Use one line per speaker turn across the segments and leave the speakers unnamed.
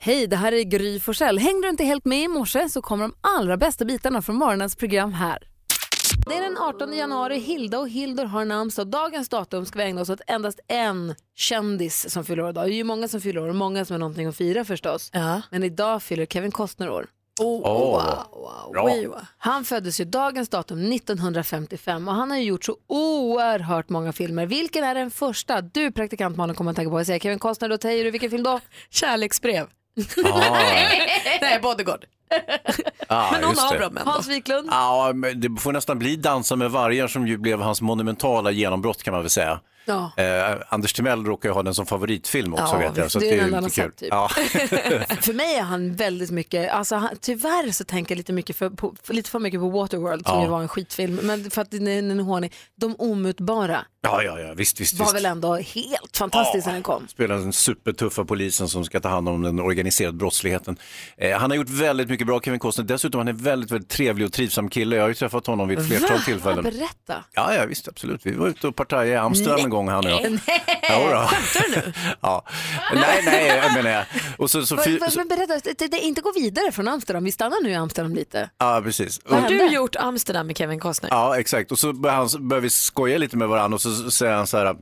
Hej, det här är Gry Forssell. Hängde du inte helt med i morse så kommer de allra bästa bitarna från morgonens program här. Det är den 18 januari, Hilda och Hildur har namnsdag. Dagens datum ska vi ägna oss åt endast en kändis som fyller år idag. Det är ju många som fyller år och många som har någonting att fira förstås. Men idag fyller Kevin Costner år.
Oh.
Åh, wow, bra. oj, wow.
Han föddes ju dagens datum 1955 och han har ju gjort så oerhört många filmer. Vilken är den första du praktikant Malin kommer att tänka på? Jag säger Kevin Costner, då säger du vilken film då?
Kärleksbrev.
Ja,
Nej, Bodyguard.
ja,
Men någon
just
av
det.
dem ändå.
Hans Wiklund?
Ja, men det får nästan bli Dansa med vargar som ju blev hans monumentala genombrott kan man väl säga.
Ja.
Eh, Anders Timell råkar ju ha den som favoritfilm också
Ja,
vet jag.
visst,
Så
det är
det är ju
den han
lite
har
kul.
sett, typ.
Ja.
För mig är han väldigt mycket, alltså han, tyvärr så tänker jag lite, mycket för, på, för- lite för mycket på Waterworld som
Ja.
ju var en skitfilm, men för att den är en hånig. De omutbara
ja, ja, ja, visst, visst.
var
visst.
väl ändå helt fantastisk när den kom.
Spelar den supertuffa polisen som ska ta hand om den organiserade brottsligheten. Eh, han har gjort väldigt mycket bra, Kevin Costner. Dessutom han är en väldigt, väldigt trevlig och trivsam kille. Jag har ju träffat honom vid ett flertal
Va?
tillfällen.
Berätta.
Ja, ja, visst, absolut. Vi var ute och partajade i Amsterdam en gång han och jag. Skämtar du nu? ja. Nej, nej, jag menar jag. Och så, så,
Va-
fy-
va-
så,
Men berätta, det, det, inte gå vidare från Amsterdam, vi stannar nu i Amsterdam lite.
ja, precis. Och,
Har du
hände?
gjort Amsterdam med Kevin Costner?
ja, exakt. Och så börjar, han, så börjar vi skoja lite med varandra och så, så säger han så här,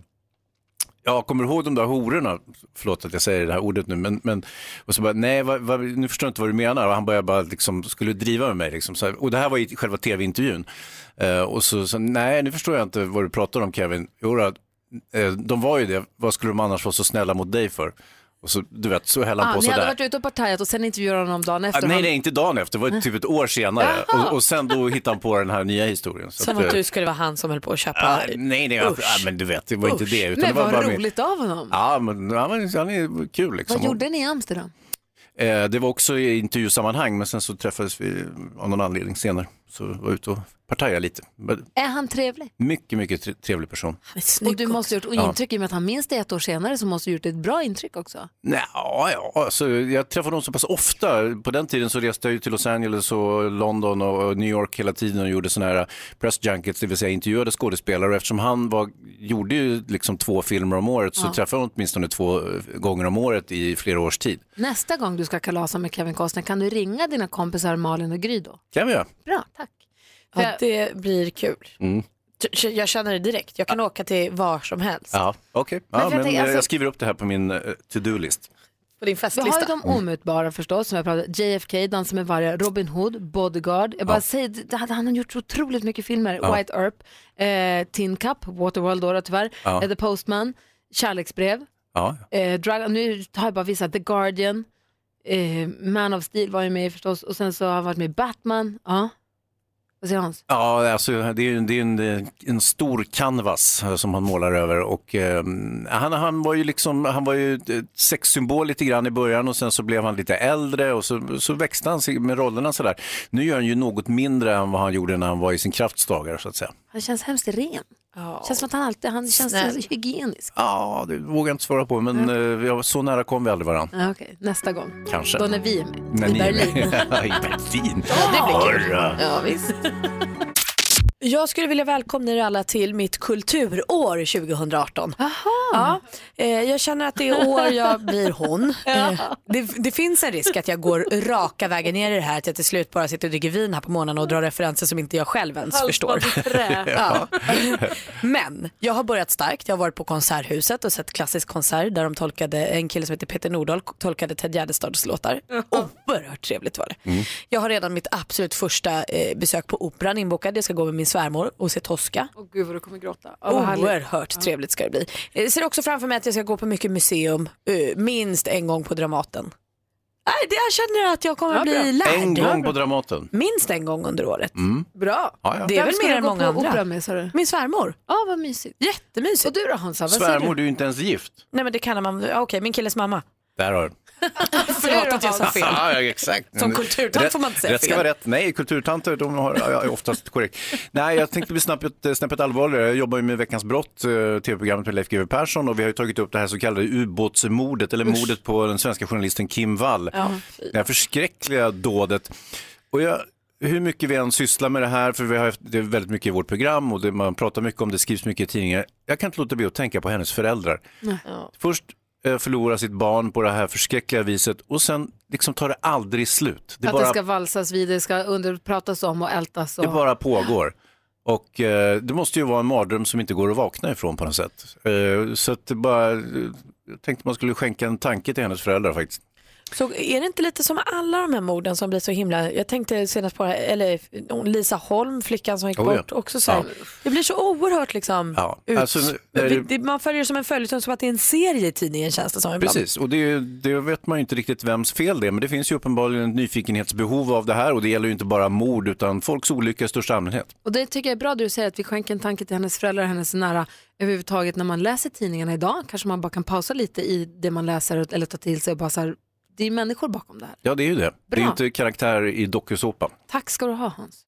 ja, kommer du ihåg de där hororna? Förlåt att jag säger det här ordet nu, men, men och så bara, nej, vad, vad, nu förstår jag inte vad du menar. Och han började bara liksom, skulle driva med mig liksom. Så här, och det här var i själva tv-intervjun. Eh, och så, så, nej, nu förstår jag inte vad du pratar om Kevin. Jo, då, eh, de var ju det, vad skulle de annars vara så snälla mot dig för? Och så, du vet, så höll han
Ah,
på
ni
sådär.
hade varit ute och partajat och sen intervjuade honom dagen
Ah,
efter.
nej,
Han-
nej, inte dagen efter, det var ju typ ett år senare. Och, och sen då hittade han på den här nya historien. Så
Som
att,
att
eh,
du skulle vara han som höll på att köpa.
ah, nej, nej,
Usch.
ah, men du vet, det var inte det. Utan
Men
det var
vad
bara min-
roligt av honom.
Ja, men han var- han är kul liksom.
Vad gjorde ni i Amsterdam?
Och, eh, det var också i intervjusammanhang, men sen så träffades vi av någon anledning senare. Så var jag ute och partajade lite. Men
Är han trevlig?
Mycket, mycket tre- trevlig person.
Han är snygg
Och du måste ha gjort
Ja.
intryck i och med att han minns det ett år senare så måste du ha gjort ett bra intryck också.
Nej, ja, ja, alltså, jag träffade honom så pass ofta. På den tiden så reste jag ju till Los Angeles och London och New York hela tiden och gjorde sådana här press junkets, det vill säga intervjuade skådespelare. Och eftersom han var, gjorde ju liksom två filmer om året så träffade jag honom åtminstone två eh, gånger om året i flera års tid.
Nästa gång du ska kalasa med Kevin Costner kan du ringa dina kompisar Malin och Gry då?
Kan vi göra. Mm.
Bra, tack. För
Ja, det blir kul. T- Jag känner det direkt. Jag kan åka till var som helst.
Ja, okej.
Men
Ja,
för jag
men
tänker,
eh,
alltså-
jag skriver upp det här på min eh, to-do-list.
Vi
På din
har ju
festlista.
de omutbara förstås, som jag pratade JFK, Dansa med vargar, Robin Hood, Bodyguard. Jag bara säger, det- det hade han har gjort så otroligt mycket filmer. White Earp, eh, Tin Cup, Waterworld då tyvärr,
Ja.
eh, The Postman, Kärleksbrev,
Ja,
eh, Drug, nu har jag bara visat The Guardian, eh, Man of Steel var ju med förstås och sen så har han varit med i Batman. Ja. Vad säger Hans?
Ja, alltså, det är, ju- det är en, en stor canvas eh, som han målar över. Och, eh, han, han var ju liksom, han var ju eh, sexsymbol lite grann i början och sen så blev han lite äldre och så, så växte han sig med rollerna sådär. Nu gör han ju något mindre än vad han gjorde när han var i sin kraftsdagar så att säga.
Han känns hemskt ren.
Ja.
Känns som att han alltid, han känns
Snäll.
så hygienisk.
Ja, det vågar jag inte svara på, men eh, vi har- så nära kom vi aldrig varandra,
Ja, Okej, nästa gång.
kanske.
Mm. Då när vi är med.
När
I
ni är
Berlin.
med. I Berlin.
det blir
Hurra.
Ja, visst. Jag skulle vilja välkomna er alla till mitt kulturår 2018. Ja, eh, jag känner att det är år jag blir hon. Eh, det, det finns en risk att jag går raka vägen ner i det här, att jag till slut bara sitter och dricker vin här på morgonen och drar referenser som inte jag själv ens förstår. Ja. Men jag har börjat starkt. Jag har varit på Konserthuset och sett klassisk konsert där de tolkade, en kille som heter Peter Nordahl tolkade Ted Gärdestads låtar. Oerhört trevligt var
Mm.
det. Jag har redan mitt absolut första eh, besök på Operan inbokat. Jag ska gå med min svärmor och se Tosca.
Åh gud vad du kommer gråta.
Oerhört trevligt ska det bli. Jag ser också framför mig att jag ska gå på mycket museum, eh, minst en gång på Dramaten. Nej, det jag känner att jag kommer bli lärd.
En gång på Dramaten. Mm.
Minst en gång under året.
Bra.
Ja, ja.
Det är väl mer än många
Vem ska du gå på opera
andra.
med sa du?
Min svärmor,
Ja vad mysigt.
jättemysigt.
Och du då Hansa, vad säger
Svärmor,
du?
du är ju inte ens gift.
Nej men det kallar man, ja, okej min killes mamma.
Där har du den.
Förlåt att jag sa fel.
Ja, ja, exakt.
Som
Men
kulturtant
rätt-
får man inte säga
Rätt ska
fel.
vara rätt. Nej, kulturtanter de har, ja, är oftast korrekt. Nej, jag tänkte bli snäppet, eh, snäppet allvarligare. Jag jobbar ju med Veckans brott, eh, tv-programmet med Leif GW Persson och vi har ju tagit upp det här så kallade ubåtsmordet eller mordet på den svenska journalisten Kim Wall. Det här förskräckliga dådet. Och jag, hur mycket vi än sysslar med det här, för vi har haft, det är väldigt mycket i vårt program och det, man pratar mycket om det, skrivs mycket i tidningar. Jag kan inte låta bli att tänka på hennes föräldrar. Först eh, förlorar sitt barn på det här förskräckliga viset och sen liksom tar det aldrig slut. Det,
att
bara,
det ska valsas vid, det ska underpratas om och ältas. Och...
det bara pågår. Och eh, det måste ju vara en mardröm som inte går att vakna ifrån på något sätt. Eh, så att det bara, eh, jag tänkte man skulle skänka en tanke till hennes föräldrar faktiskt.
Så är det inte lite som alla de här morden som blir så himla, jag tänkte senast på det här, eller Lisa Holm, flickan som gick
Oh ja.
bort, också så här, det blir så oerhört liksom,
Ja,
ut,
alltså, är det-
det, man följer det som en följetong som att det är en serie i tidningen känns det som ibland.
Precis, och det, är ju- det vet man ju inte riktigt vems fel det är, men det finns ju uppenbarligen ett nyfikenhetsbehov av det här och det gäller ju inte bara mord utan folks olycka i största allmänhet.
Och det tycker jag är bra det du säger att vi skänker en tanke till hennes föräldrar och hennes nära överhuvudtaget när man läser tidningarna idag. Kanske man bara kan pausa lite i det man läser och- eller ta till sig och bara så här, det är människor bakom det här.
Ja, det är ju det. Det är ju
Bra.
inte karaktär i dokusåpan.
Tack ska du ha Hans.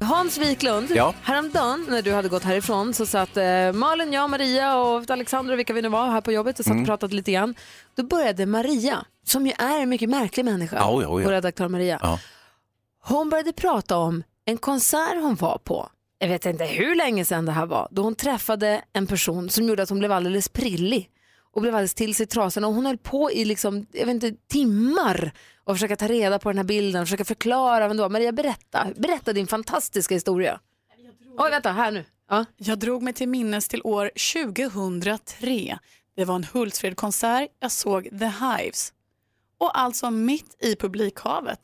Hans Wiklund,
Ja.
häromdagen när du hade gått härifrån så satt eh, Malin, jag, Maria och Alexander och vilka vi nu var här på jobbet och satt
Mm.
och pratade lite grann. Då började Maria, som ju är en mycket märklig människa,
Ja, oj, oj.
vår redaktör Maria.
Ja.
Hon började prata om en konsert hon var på. Jag vet inte hur länge sedan det här var. Då hon träffade en person som gjorde att hon blev alldeles prillig och blev alldeles till sig i trasorna. Och hon höll på i liksom, jag vet inte, timmar och försöka ta reda på den här bilden, försöka förklara vem det var. Maria, berätta. Berätta din fantastiska historia. Oj, vänta, här nu. Ja.
Jag drog mig till minnes till år 2003. Det var en Hultsfredkonsert. Jag såg The Hives. Och alltså mitt i publikhavet.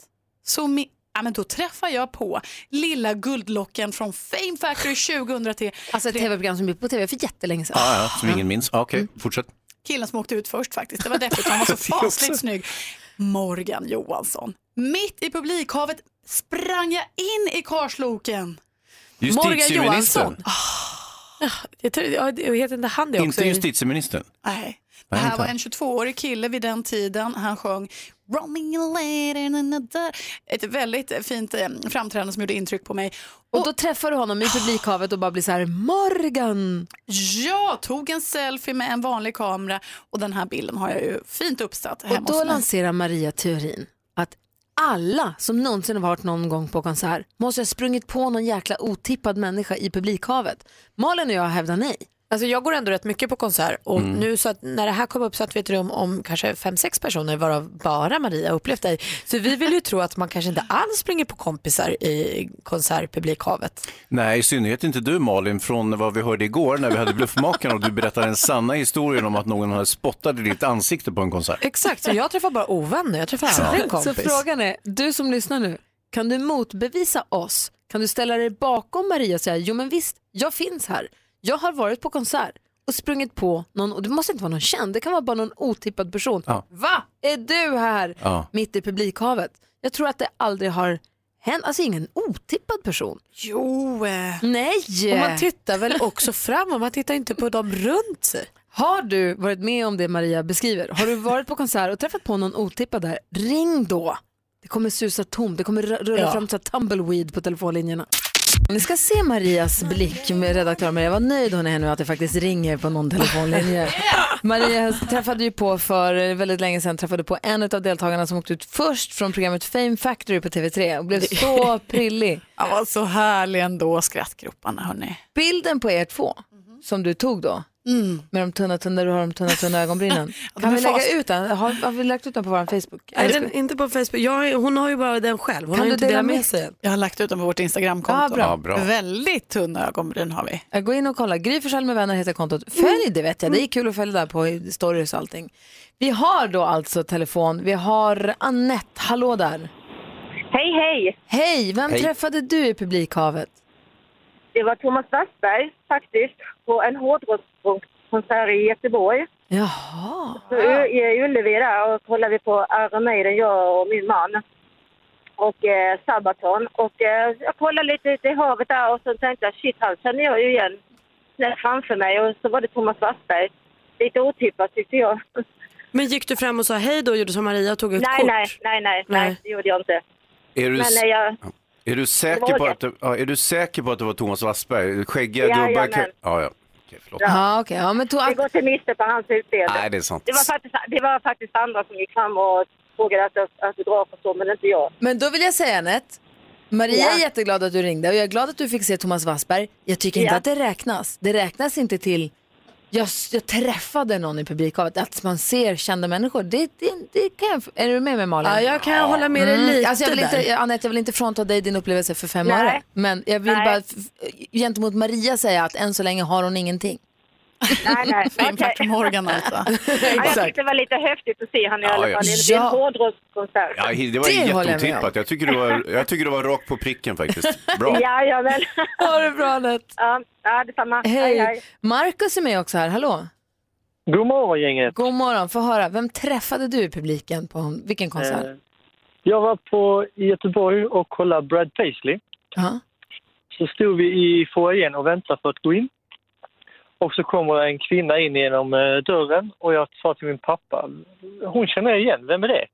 Så mi- ja, men då träffar jag på lilla guldlocken från Fame Factory 2003.
Alltså ett tv-program som gick på tv för jättelänge sedan.
Ah, ja, som ingen minns. Ah, Okej, fortsätt.
killen som åkte ut först faktiskt. Det var deppigt, han var så fasligt snygg. Morgan Johansson. Mitt i publikhavet sprang jag in i karsloken.
Justitieministern.
Ah, Jag tror, ja, det- heter inte han det också?
Inte justitieministern.
Nej. Det
Nej,
här
inte
var
han.
en 22-årig kille vid den tiden. Han sjöng Roaming later in another. Ett väldigt fint eh, framträdande som gjorde intryck på mig.
Och då träffar du honom i publikhavet och bara blir så här, Morgan!
Jag tog en selfie med en vanlig kamera och den här bilden har jag ju fint uppsatt
Och
hemma
då
hos mig.
lanserar Maria teorin att alla som någonsin har varit någon gång på konsert måste ha sprungit på någon jäkla otippad människa i publikhavet. Malin och jag hävdar nej.
Alltså jag går ändå rätt mycket på konsert och
Mm.
nu så att när det här kom upp så att vi ett rum om kanske fem sex personer varav bara Maria har upplevt dig. Så vi vill ju tro att man kanske inte alls springer på kompisar i konsertpublikhavet.
Nej, i synnerhet inte du Malin, från vad vi hörde igår när vi hade Bluffmakarna och du berättade den sanna historien om att någon hade spottat i ditt ansikte på en konsert.
Exakt, så jag träffar bara ovänner, jag träffar aldrig en
Så
kompis.
frågan är, du som lyssnar nu, kan du motbevisa oss? Kan du ställa dig bakom Maria och säga, jo men visst, jag finns här. Jag har varit på konsert och sprungit på någon, och det måste inte vara någon känd, det kan vara bara någon otippad person.
Ja.
Va? Är du här?
Ja.
Mitt i publikhavet. Jag tror att det aldrig har hänt, alltså ingen otippad person.
Jo, eh,
Nej!
Och man tittar väl också framåt, man tittar inte på dem runt sig.
Har du varit med om det Maria beskriver? Har du varit på konsert och träffat på någon otippad där? Ring då! Det kommer susa tomt, det kommer ru- rulla
Ja.
fram så här tumbleweed på telefonlinjerna. Ni ska se Marias blick med redaktör Maria. Vad nöjd hon är nu att det faktiskt ringer på någon telefonlinje. Maria träffade ju på för väldigt länge sedan träffade på en av deltagarna som åkte ut först från programmet Fame Factory på TV3 och blev så prillig.
jag var så härlig ändå, skrattgroparna hörni.
Bilden på er två som du tog då med de tunna, tunna, du har de tunna, tunna ögonbrynen. kan
Mm. är
vi lägga
fast.
ut den? Har, har vi lagt ut den på vår Facebook?
Nej, den, inte på Facebook, jag, hon har ju bara den själv, hon
Kan
har ju
du
inte
dela
delat
med
med sig än.
Jag har lagt ut dem på vårt Instagramkonto.
Ja, bra.
Ja, bra.
Väldigt tunna ögonbryn har vi.
Jag går in och kollar. Gry Forssell med vänner heter kontot.
Mm.
Följ det vet jag. Det är kul att följa där på stories och allting. Vi har då alltså telefon. Vi har Annette. Hallå där.
Hej, hej!
Hej, vem
Hej.
träffade du i publikhavet?
Det var Thomas Wassberg faktiskt på en hårdrockskonsert i Göteborg.
Jaha.
Så i Ullevi där och kollade vi på Iron Maiden, jag och min man. Och eh, Sabaton. Och eh, jag kollade lite ut i havet där och så tänkte jag shit, han känner jag ju igen snett framför mig. Och så var det Thomas Wassberg. Lite otippat tyckte jag.
Men gick du fram och sa hej då och gjorde som Maria och tog ett
Nej,
kort?
nej, nej, nej, nej,
Nej.
det gjorde jag inte.
Är du,
Men eh, jag,
är du, säker, på att, det- ja, är du säker på att det var Thomas Wassberg? Skäggiga gubbar?
Jajamän.
kan- Ja, ja. Okej, förlåt.
Ja, okej. Ja, men to-
jag går till miste på hans utseende.
Nej, det är sant.
Det var, faktiskt, det var faktiskt andra som gick fram och frågade att jag- autograf och så, men inte jag.
Men då vill jag säga Anette, Maria är
Ja.
jätteglad att du ringde och jag är glad att du fick se Thomas Wassberg. Jag tycker inte
Ja.
att det räknas. Det räknas inte till Jag, s- jag träffade någon i publikhavet. Att man ser kända människor, det, det, det kan jag, Är du med mig Malin?
Ja, jag kan hålla med dig lite
alltså jag vill
där.
inte, Anette, jag vill inte frånta dig din upplevelse för fem
Nej.
öre. Men jag vill
Nej.
bara f- gentemot Maria säga att än så länge har hon ingenting.
Nej, nej.
Fame
okej.
Factor Morgan alltså.
Ja, jag tyckte det var lite häftigt att se honom i
Ja,
alla fall.
ja.
Det är en
Ja.
hårdrockskonsert.
Ja, det var
Det håller jag med
jätteotippat. Jag tycker, det var, jag tycker det var rakt på pricken faktiskt. Bra.
Ja, ja, men.
Ha det bra Anette.
Ja, ja detsamma. Hej, hej.
Hej. Markus är med också här, hallå.
God morgon gänget!
God morgon, få höra. Vem träffade du i publiken på vilken konsert?
Eh, Jag var på i Göteborg och kollade Brad Paisley.
Ja.
Så stod vi i foajén och väntade för att gå in. Och så kommer en kvinna in genom eh, dörren och jag sa till min pappa, hon känner jag igen, vem är det?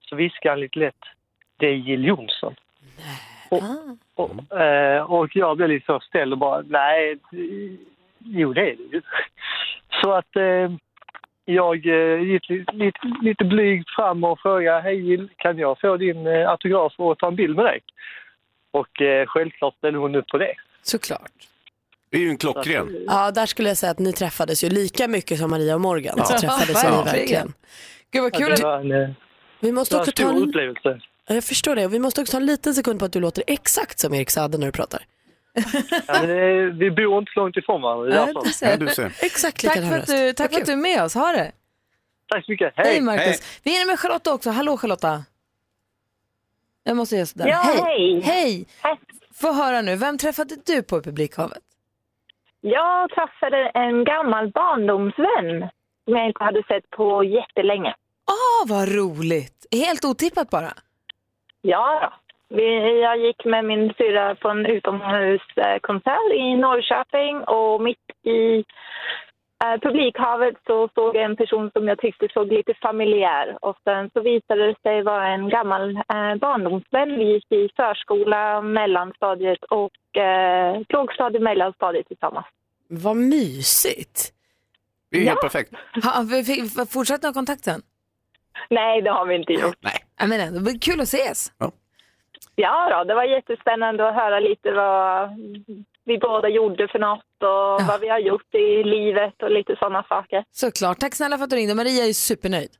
Så viskade han lite lätt, det är Jill Johnson.
Ah.
Och, eh, och jag blev lite så ställd och bara, nej, jo det är det ju. Så att eh, jag eh, gick li- lite, lite blygt fram och frågade, hej Jill, kan jag få din eh, autograf och ta en bild med dig? Och eh, självklart ställde hon upp på det.
Såklart.
Det är ju en klockren.
Ja, där skulle jag säga att ni träffades ju lika mycket som Maria och Morgan. Så träffades
verkligen.
ni verkligen. Gud vad
Det var en, eh,
Vi
det
måste
var en
också ta
stor
en...
upplevelse.
Ja, Jag förstår det. Och Vi måste också ta en liten sekund på att du låter exakt som Erik Saade när du pratar.
Ja, men, eh, vi bor inte så långt ifrån varandra. det är därför.
Ja, du ser.
Exakt
Tack,
likadan
för att,
röst.
du, tack
Vad
för att du är med oss, ha det.
Tack så mycket,
Hej,
hej!
Marcus.
Hej.
Vi är inne med Charlotta också. Hallå Charlotta. Jag måste göra sådär.
Ja,
hej.
hej.
Hej.
Hej.
Få höra nu, vem träffade du på publikhavet?
Jag träffade en gammal barndomsvän som jag inte hade sett på jättelänge.
Åh, Ah, vad roligt. Helt otippat bara.
Ja, då. Vi- jag gick med min syrra på en utomhuskonsert i Norrköping och mitt i eh, publikhavet så såg jag en person som jag tyckte såg lite familjär. Och sen så visade det sig vara en gammal eh, barndomsvän. Vi gick i förskola, mellanstadiet och eh, lågstadiet, mellanstadiet tillsammans.
Vad mysigt.
Det är ju helt perfekt.
Ha, vi fick- Fortsatte ni ha kontakt sen?
Nej, det har vi inte gjort.
Ja, men ändå, vad kul att ses.
Ja, då, det var jättespännande att höra lite vad vi båda gjorde för något och vad vi har gjort i livet och lite sådana saker.
Såklart. Tack snälla för att du ringde. Maria är ju supernöjd.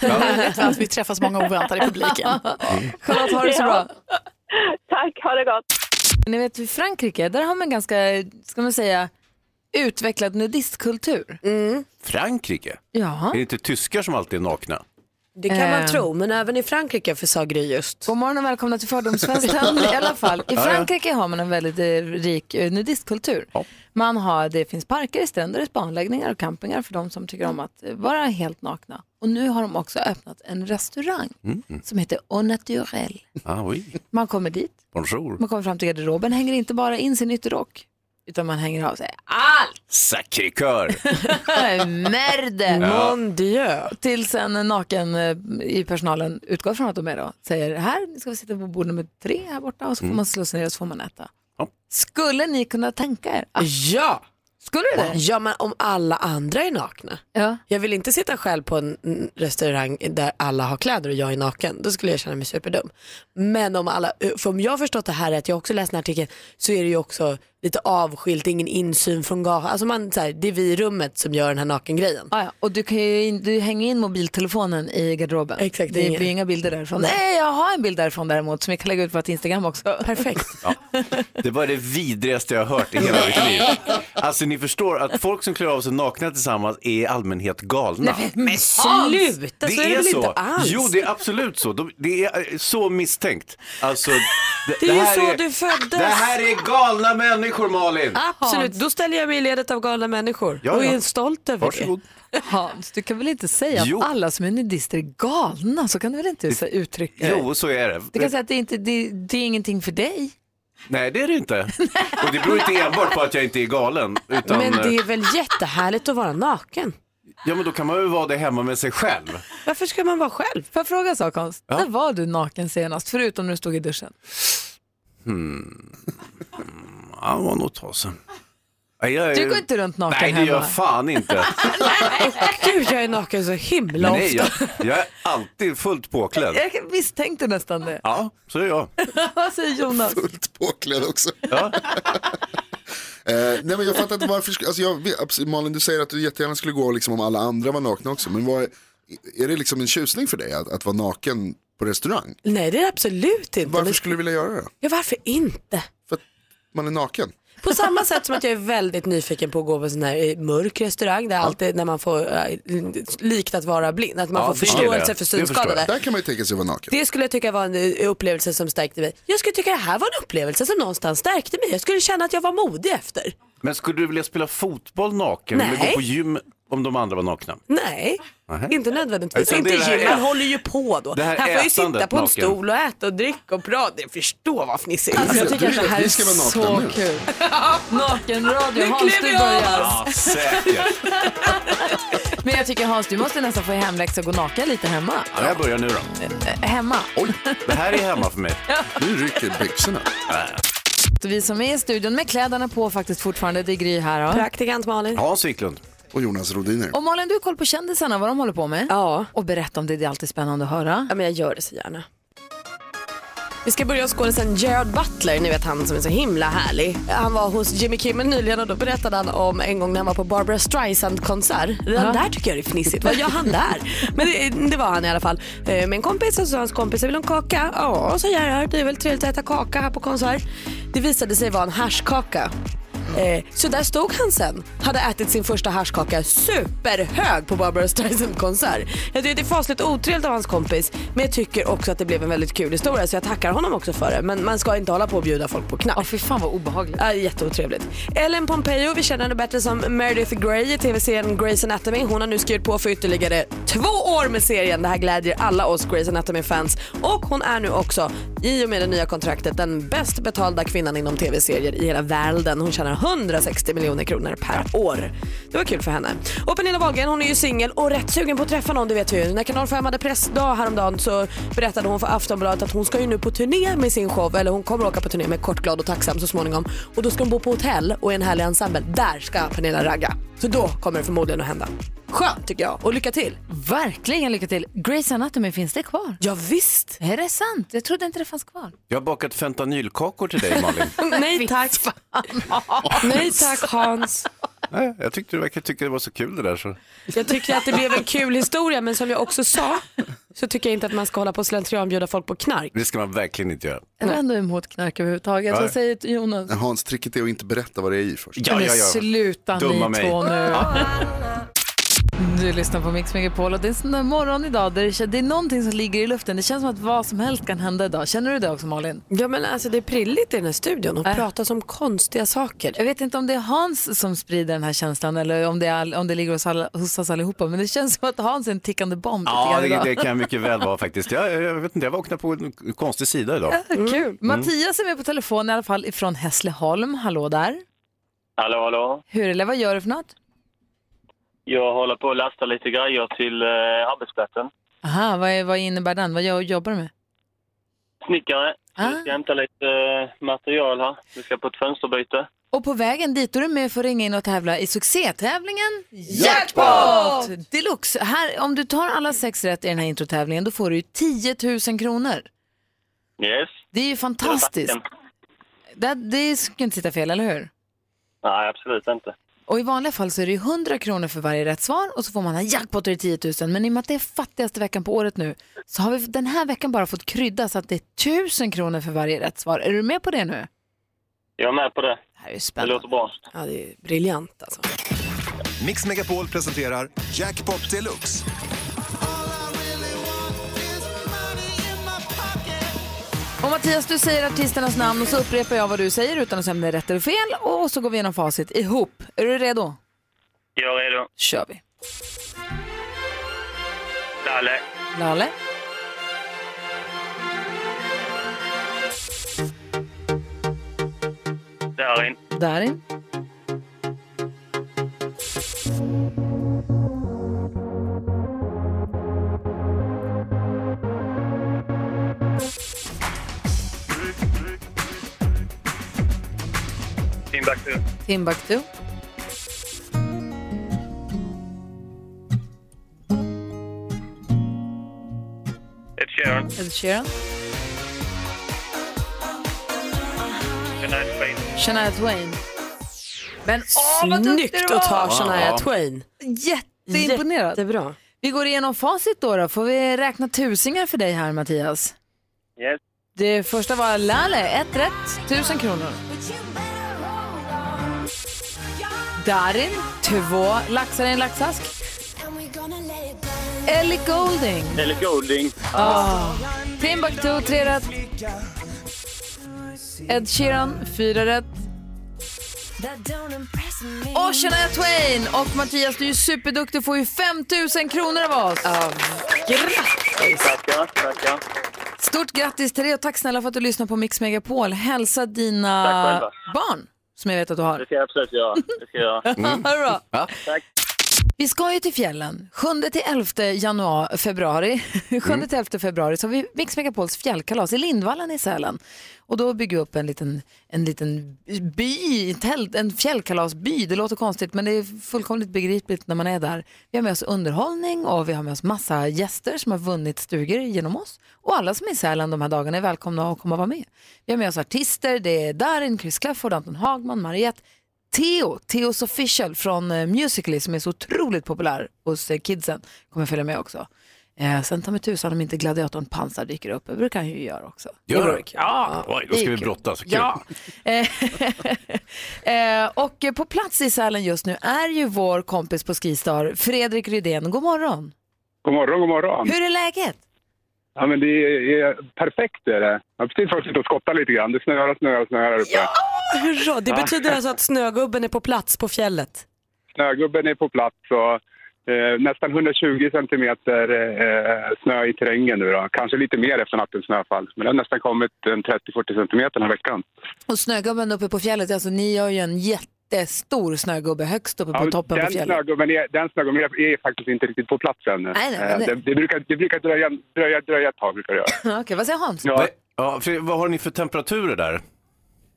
Härligt att vi träffas många oväntade i publiken.
Charlotte, ha det så bra.
Tack, ha det gott!
Ni vet, i Frankrike, där har man ganska, ska man säga, utvecklad nudistkultur.
Mm,
Frankrike?
Ja.
Är det inte tyskar som alltid är nakna?
Det kan man
Eh.
tro, men även i Frankrike försade Gry just.
God morgon och välkomna till fördomsfesten i alla fall. I Frankrike har man en väldigt eh, rik eh, nudistkultur. Man har, det finns parker, stränder, spaanläggningar och campingar för de som tycker om att eh, vara helt nakna. Och nu har de också öppnat en restaurang som heter Au Naturel.
Ah, oui.
Man kommer dit,
Bonjour.
man kommer fram till garderoben, hänger inte bara in sin ytterrock utan man hänger av sig.
Sacré cœur.
Ah, merde!
Mon dieu.
Tills en naken eh, i personalen utgår från att de är då, säger här nu ska vi sitta på bord nummer tre här borta och så får man slå sig ner och så får man äta.
Ja.
Skulle ni kunna tänka er? Ah,
Ja.
skulle du det?
Ja, men om alla andra är nakna.
Ja.
Jag vill inte sitta själv på en mm, restaurang där alla har kläder och jag är naken. Då skulle jag känna mig superdum. Men om alla, eh, för om jag har förstått det här rätt, jag har också läst den här artikeln, så är det ju också lite avskilt, ingen insyn från gatan. Alltså man, så här, det är vi i rummet som gör den här nakengrejen.
Ah, ja. Och du, kan ju in, du hänger in mobiltelefonen i garderoben.
Exakt,
det
ingen-
blir inga bilder därifrån. Nej, jag har en bild därifrån däremot som vi kan lägga ut på vårt Instagram också.
Perfekt.
Det var det vidrigaste jag har hört i hela mitt liv. Alltså ni förstår att folk som klär av sig nakna tillsammans är i allmänhet galna.
Men sluta,
det
så är det väl inte alls?
Jo, det är absolut så. De, det är eh, så misstänkt. Alltså, det,
Det är ju
här
så du föddes.
Det här är galna människor, Malin.
Absolut, då ställer jag mig i ledet av galna människor
Ja,
och
ja.
är stolt över
Varsågod.
Hans, du kan väl inte säga
Jo.
att alla som är nudister är galna? Så kan du väl inte så uttrycka det?
Jo, så är det.
Du kan säga att det, är inte, det, det är ingenting för dig.
Nej, det är det inte. Och det beror inte enbart på att jag inte är galen.
det.
Utan,
Men det
eh,
är väl jättehärligt att vara naken?
Ja, men då kan man väl vara det hemma med sig själv.
Varför ska man vara själv?
Får jag fråga en sak Hans? När var du naken senast? Förutom när du stod i duschen.
Hmm. Ja, det var nog ett tag sedan. Nej, jag är-
Du går inte runt naken
Nej, det
hemma.
gör jag fan inte.
Gud, jag är naken så himla
Nej,
ofta.
jag, jag är alltid fullt påklädd.
Jag misstänkte nästan det.
Ja, så är jag.
Vad säger Jonas?
fullt påklädd också.
Ja.
Eh, nej men jag fattar inte varför, sk- alltså jag, vet- abs- Malin du säger att du jättegärna skulle gå liksom om alla andra var nakna också, men vad, är- är det liksom en tjusning för dig att, att vara naken på restaurang?
Nej, det är det absolut inte.
Varför
Men-
skulle du vilja göra det?
Ja, varför inte?
För att man är naken?
På samma sätt som att jag är väldigt nyfiken på att gå på en sån här eh, mörk restaurang där alltid när man får eh, likt att vara blind, att man får
Ja, det gillar
förståelse
jag.
för
Det förstår jag.
synskadade.
Där kan man ju tänka sig att vara naken.
Det skulle jag tycka var en eh, upplevelse som stärkte mig. Jag skulle tycka det här var en upplevelse som någonstans stärkte mig. Jag skulle känna att jag var modig efter.
Men skulle du vilja spela fotboll naken eller
Nej.
gå på gym om de andra var nakna?
Nej, inte nödvändigtvis.
Utan det
Inte
är det här
gym, man
ä-
håller ju på då.
det här
här får jag ju
ätandet
sitta på en
naken.
stol och äta och dricka och prata. Jag förstår vad fnissigt.
Alltså, jag
Du
tycker att det
vill att
här
vi
är
ska vara nakna
så
nu.
kul. Nakenradio, Hans du
klev jag
börjar.
Ja, säkert.
Men jag tycker Hans, du måste nästan få hemläxa och gå naken lite hemma.
Ja, jag börjar nu då.
Eh, Hemma.
Oj,
Det här är hemma för mig. Äh.
nu rycker byxorna.
Vi som är i studion med kläderna på faktiskt fortfarande, det är Gry här. Ja.
Praktikant Malin.
Hans Wiklund.
Och Jonas Rodiner.
Och Malin, du har koll på kändisarna, vad de håller på med.
Ja.
Och berätta om det, det är alltid spännande att höra.
ja, men jag gör det så gärna. Vi ska börja hos skådisen Gerard Butler, ni vet han som är så himla härlig. Han var hos Jimmy Kimmel nyligen och då berättade han om en gång när han var på Barbara Streisand-konsert. Redan där tycker jag det är fnissigt. Vad gör han där? Men det, det var han i alla fall. Eh, Med en kompis och så sa hans kompis, vill du ha en kaka? Ja, sa Gerard, det är väl trevligt att äta kaka här på konsert. Det visade sig vara en haschkaka. Eh, Så där stod han sen, hade ätit sin första haschkaka superhög på Barbara Streisand-konsert. Jag tycker det är fasligt otrevligt av hans kompis men jag tycker också att det blev en väldigt kul historia så jag tackar honom också för det. Men man ska inte hålla på och bjuda folk på knark.
Ja, fy fan vad obehagligt.
Ja, jätteotrevligt. Ellen Pompeo, vi känner henne bättre som Meredith Grey i tv-serien Grey's Anatomy. Hon har nu skrivit på för ytterligare två år med serien. Det här glädjer alla oss Grey's Anatomy-fans. Och hon är nu också, i och med det nya kontraktet, den bäst betalda kvinnan inom tv-serier i hela världen. Hon tjänar 160 miljoner kronor per år. Det var kul för henne. Och Pernilla Wahlgren, hon är ju singel och rätt sugen på att träffa någon, det vet vi ju. När Kanal 5 hade pressdag häromdagen så berättade hon för Aftonbladet att hon ska ju nu på turné med sin show, eller hon kommer åka på turné med Kort, glad och tacksam så småningom. Och då ska hon bo på hotell och i en härlig ensemble. Där ska Pernilla ragga. Så då kommer det förmodligen att hända. Skönt tycker jag och lycka till.
Verkligen lycka till. Grace Anatomy, finns det kvar?
Ja, visst.
Är det sant? Jag trodde inte det fanns kvar.
Jag har bakat fentanylkakor till dig Malin.
Nej tack. Nej tack Hans.
Nej, jag tyckte du verkar tycka det var så kul det där. Så.
Mm,
Jag tyckte att det blev en kul historia men som jag också sa så tycker jag inte att man ska hålla på och slentrian bjuda folk på knark.
Det ska man verkligen inte göra.
Jag var ändå emot knark överhuvudtaget.
Ja.
Vad säger Jonas?
Hans, tricket är att inte berätta vad det är i först.
Ja,
Men
ja, ja.
Sluta ni
Dumma mig.
två nu. Du lyssnar på Mix Megapol och det är en sån där morgon idag där det, kän- det är någonting som ligger i luften. Det känns som att vad som helst kan hända idag. Känner du det också Malin? Äh.
Ja men alltså det är prilligt i den här studion och pratas om konstiga saker.
Jag vet inte om det är Hans som sprider den här känslan eller om det, är, all- om det ligger hos, alla, hos oss allihopa men det känns som att Hans är en tickande bomb. lite
Ja,
grann
det,
idag.
det kan mycket väl vara faktiskt. Jag, jag vet inte, jag vaknade på en konstig sida idag.
Mm.
Kul. Mattias är med på telefon i alla fall ifrån Hässleholm. Hallå där.
Hallå, hallå.
Hur eller vad gör du för något?
Jag håller på att lasta lite grejer till eh, arbetsplatsen.
Aha, vad, är, vad innebär den? Vad gör, jobbar du med?
Snickare. Så
Ah.
Jag ska hämta lite eh, material här. Vi ska på ett fönsterbyte.
Och på vägen dit då är du med för att ringa in och tävla i succétävlingen Jackpot! Deluxe. Här, om du tar alla sex rätt i den här introtävlingen då får du ju 10 000 kronor.
Yes.
Det är ju fantastiskt.
Tack.
Det, det skulle inte sitta fel, eller hur?
Nej, absolut inte.
Och i vanliga fall så är det ju 100 kronor för varje rätt svar och så får man en jackpot och det är 10 000. Men i och med att det är fattigaste veckan på året nu så har vi den här veckan bara fått krydda så att det är 1000 kronor för varje rätt svar. Är du med på det nu?
Jag är med på det.
Det här är ju
Det
spännande.
låter bra.
Ja, det är briljant alltså.
Mix Megapol presenterar Jackpot Deluxe.
Och Mattias, du säger artisternas namn och så upprepar jag vad du säger utan att säga om det är rätt eller fel och så går vi igenom facit ihop. Är du redo?
Jag är redo.
kör vi.
Lalle.
Lale?
Darin.
Darin?
Timbuktu.
Timbuktu?
Ed Sheeran.
Ed Sheeran?
Shania Twain.
Shania Twain? Men åh vad duktig
Snyggt
du
att ta
var!
Shania Twain.
Jätteimponerad.
Jättebra.
Vi går igenom facit då, då. Får vi räkna tusingar för dig här Mattias?
Yes.
Det första var Lalle, ett rätt, tusen kronor. Darin, två laxar i en laxask. Ellie Golding,
Eller Golding.
ah. Timbuktu, tre rätt. Ed Sheeran, fyra rätt. Och Shania Twain och Mattias, du är ju superduktig och får ju 5 000 kronor av oss.
Tackar, tackar.
Stort grattis till dig och tack snälla för att du lyssnar på Mix Megapol. Hälsa dina
Tack själva.
Ah, barn som jag vet att du har.
Det ska jag absolut göra. Det ska jag göra.
Ha det bra.
Ja.
Tack.
Vi ska ju till fjällen. 7-11 januari, februari. 7-11 februari så har vi Mix Megapols fjällkalas i Lindvallen i Sälen. Och då bygger vi upp en liten, en liten by, tält, en fjällkalasby. Det låter konstigt men det är fullkomligt begripligt när man är där. Vi har med oss underhållning och vi har med oss massa gäster som har vunnit stugor genom oss. Och alla som är i Sälen de här dagarna är välkomna att komma och vara med. Vi har med oss artister, det är Darin, Chris Clafford, Anton Hagman, Mariette. Theo, Theos official från eh, Musical.ly som är så otroligt populär hos eh, kidsen, kommer följa med också. Eh, sen ta mig tusan om inte gladiatorn Pansar dyker upp, det brukar han ju göra också.
Gör
det?
det?
vore kul. Ja,
Ah, Oj, då
det är
ska vi
kul.
brottas. Kul.
Ja. Eh, eh, och eh, på plats i Sälen just nu är ju vår kompis på Skistar, Fredrik Rydén. God morgon!
God morgon, god morgon.
Hur är läget?
Ja, men det är perfekt. Är det. Jag har precis varit ute och skottat lite grann. Det snöar och snöar och snöar här uppe.
Hurra, det betyder alltså att snögubben är på plats på fjället.
Snögubben är på plats och eh, nästan 120 centimeter eh, snö i terrängen nu då. Kanske lite mer efter nattens snöfall. Men det har nästan kommit en 30-40 centimeter den här veckan.
Och snögubben uppe på fjället, alltså ni har ju en jättestor snögubbe högst uppe på
Ja,
toppen på
den,
fjället.
snögubben är, den snögubben är, är faktiskt inte riktigt på plats ännu.
Nej, nej, men
Eh,
det-
det, det brukar, det brukar dröja, dröja, dröja ett tag. Brukar det göra.
Okej, vad säger Hans?
Ja,
Nej, Ja, för, vad har ni för temperaturer där?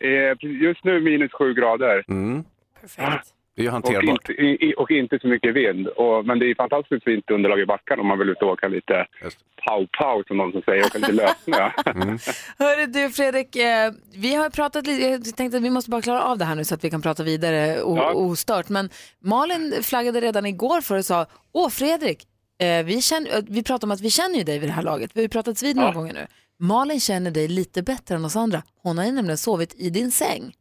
eh, just nu minus sju grader.
Mm.
Perfekt.
Det är ju
Och
hanterbart.
inte, i, i- och inte så mycket vind. Och, men det är fantastiskt fint underlag i backarna om man vill ut och åka lite
Just
pow-pow som någon som säger, åka lite lössnö.
Hörru du Fredrik, eh, vi har pratat lite, jag tänkte att vi måste bara klara av det här nu så att vi kan prata vidare o-
Ja.
ostört. Men Malin flaggade redan igår för och sa, åh Fredrik, eh, vi, känner, eh, vi pratar om att vi känner ju dig vid det här laget, vi har ju pratats vid några
Ja.
gånger nu. Malin känner dig lite bättre än oss andra, hon har ju nämligen sovit i din säng.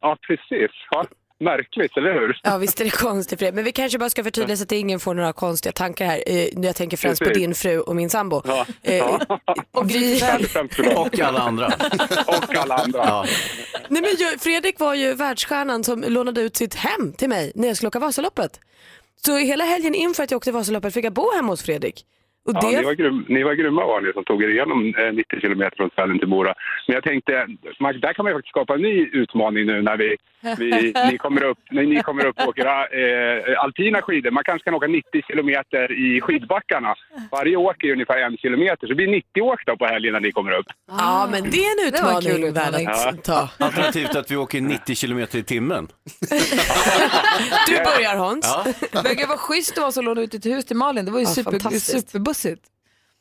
ja, precis. Ja, märkligt, eller hur?
Ja visst är det konstigt Fred, men vi kanske bara ska förtydliga så att ingen får några konstiga tankar här. Eh, Jag tänker främst på
Precis.
din fru och min sambo.
Ja.
Eh,
Och
vi-
Främst för dem
Och alla andra.
och alla andra.
Ja.
Nej, men jag, Fredrik var ju världsstjärnan som lånade ut sitt hem till mig när jag skulle åka Vasaloppet. Så hela helgen inför att jag åkte Vasaloppet fick jag bo hemma hos Fredrik. Och
Ja, ni, var grym, ni var grymma var ni som tog er igenom eh, 90 kilometer från Sälen till Mora. Men jag tänkte, man, där kan man ju faktiskt skapa en ny utmaning nu när vi, vi, ni, kommer upp, när ni kommer upp och åker eh, alpina skidor. Man kanske kan åka 90 kilometer i skidbackarna. Varje åk är ungefär en kilometer, så det blir 90 åk då på helgen när ni kommer upp.
Ja, men det är en
Ah. Det var en kul liksom.
utmaning värd
utmaning.
att ta.
Alternativt att vi åker 90 kilometer i timmen.
Du börjar Hans.
Ja.
Men gud vad schysst det var som lånade ut ditt hus till Malin, det var ju
Ja,
super,
fantastiskt.
superbussigt.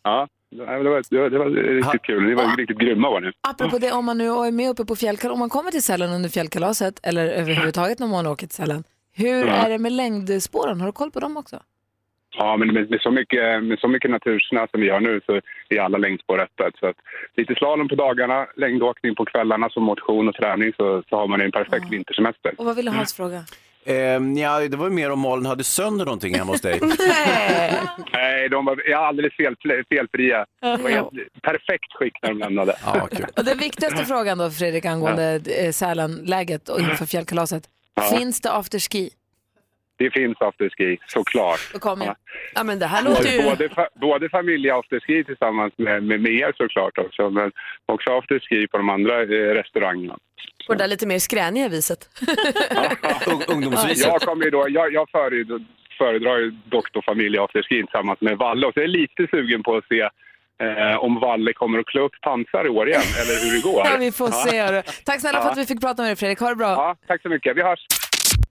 Ja, det var, det var, det var riktigt kul. Ni var riktigt grymma var ni.
Apropå det, om man nu är med uppe på fjällkalas, om man kommer till Sälen under fjällkalaset eller överhuvudtaget när man åker till Sälen, hur
Ja.
är det med längdspåren? Har du koll på dem också?
Ja, men med, med, så mycket, med så mycket natursnö som vi har nu så är alla längdspår öppet. Så att lite slalom på dagarna, längdåkning på kvällarna som motion och träning så, så har man en perfekt vintersemester.
Och vad ville Hans fråga?
Ehm, ja, det var ju mer om Malin hade sönder någonting hemma hos dig.
Nej, de var är alldeles fel, felfria. Det var helt perfekt skick när de lämnade.
Ja, kul.
Och den viktigaste frågan då Fredrik angående ja. Sälenläget och inför fjällkalaset. Finns det afterski?
Det finns afterski, såklart.
Då kommer jag.
Ja, men det här låter
Både,
ju...
både, fa, både familjeafterski tillsammans med, med, med er såklart också, men också afterski på de andra eh, restaurangerna.
På det där lite mer skräniga viset.
Ung- Ungdomsviset.
Jag, kommer ju då, jag, jag föredrar, föredrar ju dock då familjeafterskin tillsammans med Valle och så är jag lite sugen på att se eh, om Valle kommer att klå upp pansar i år igen eller hur det går.
Ja, vi får se. hörru. Tack snälla för att vi fick prata med dig Fredrik, ha det bra.
Ja, tack så mycket. Vi hörs.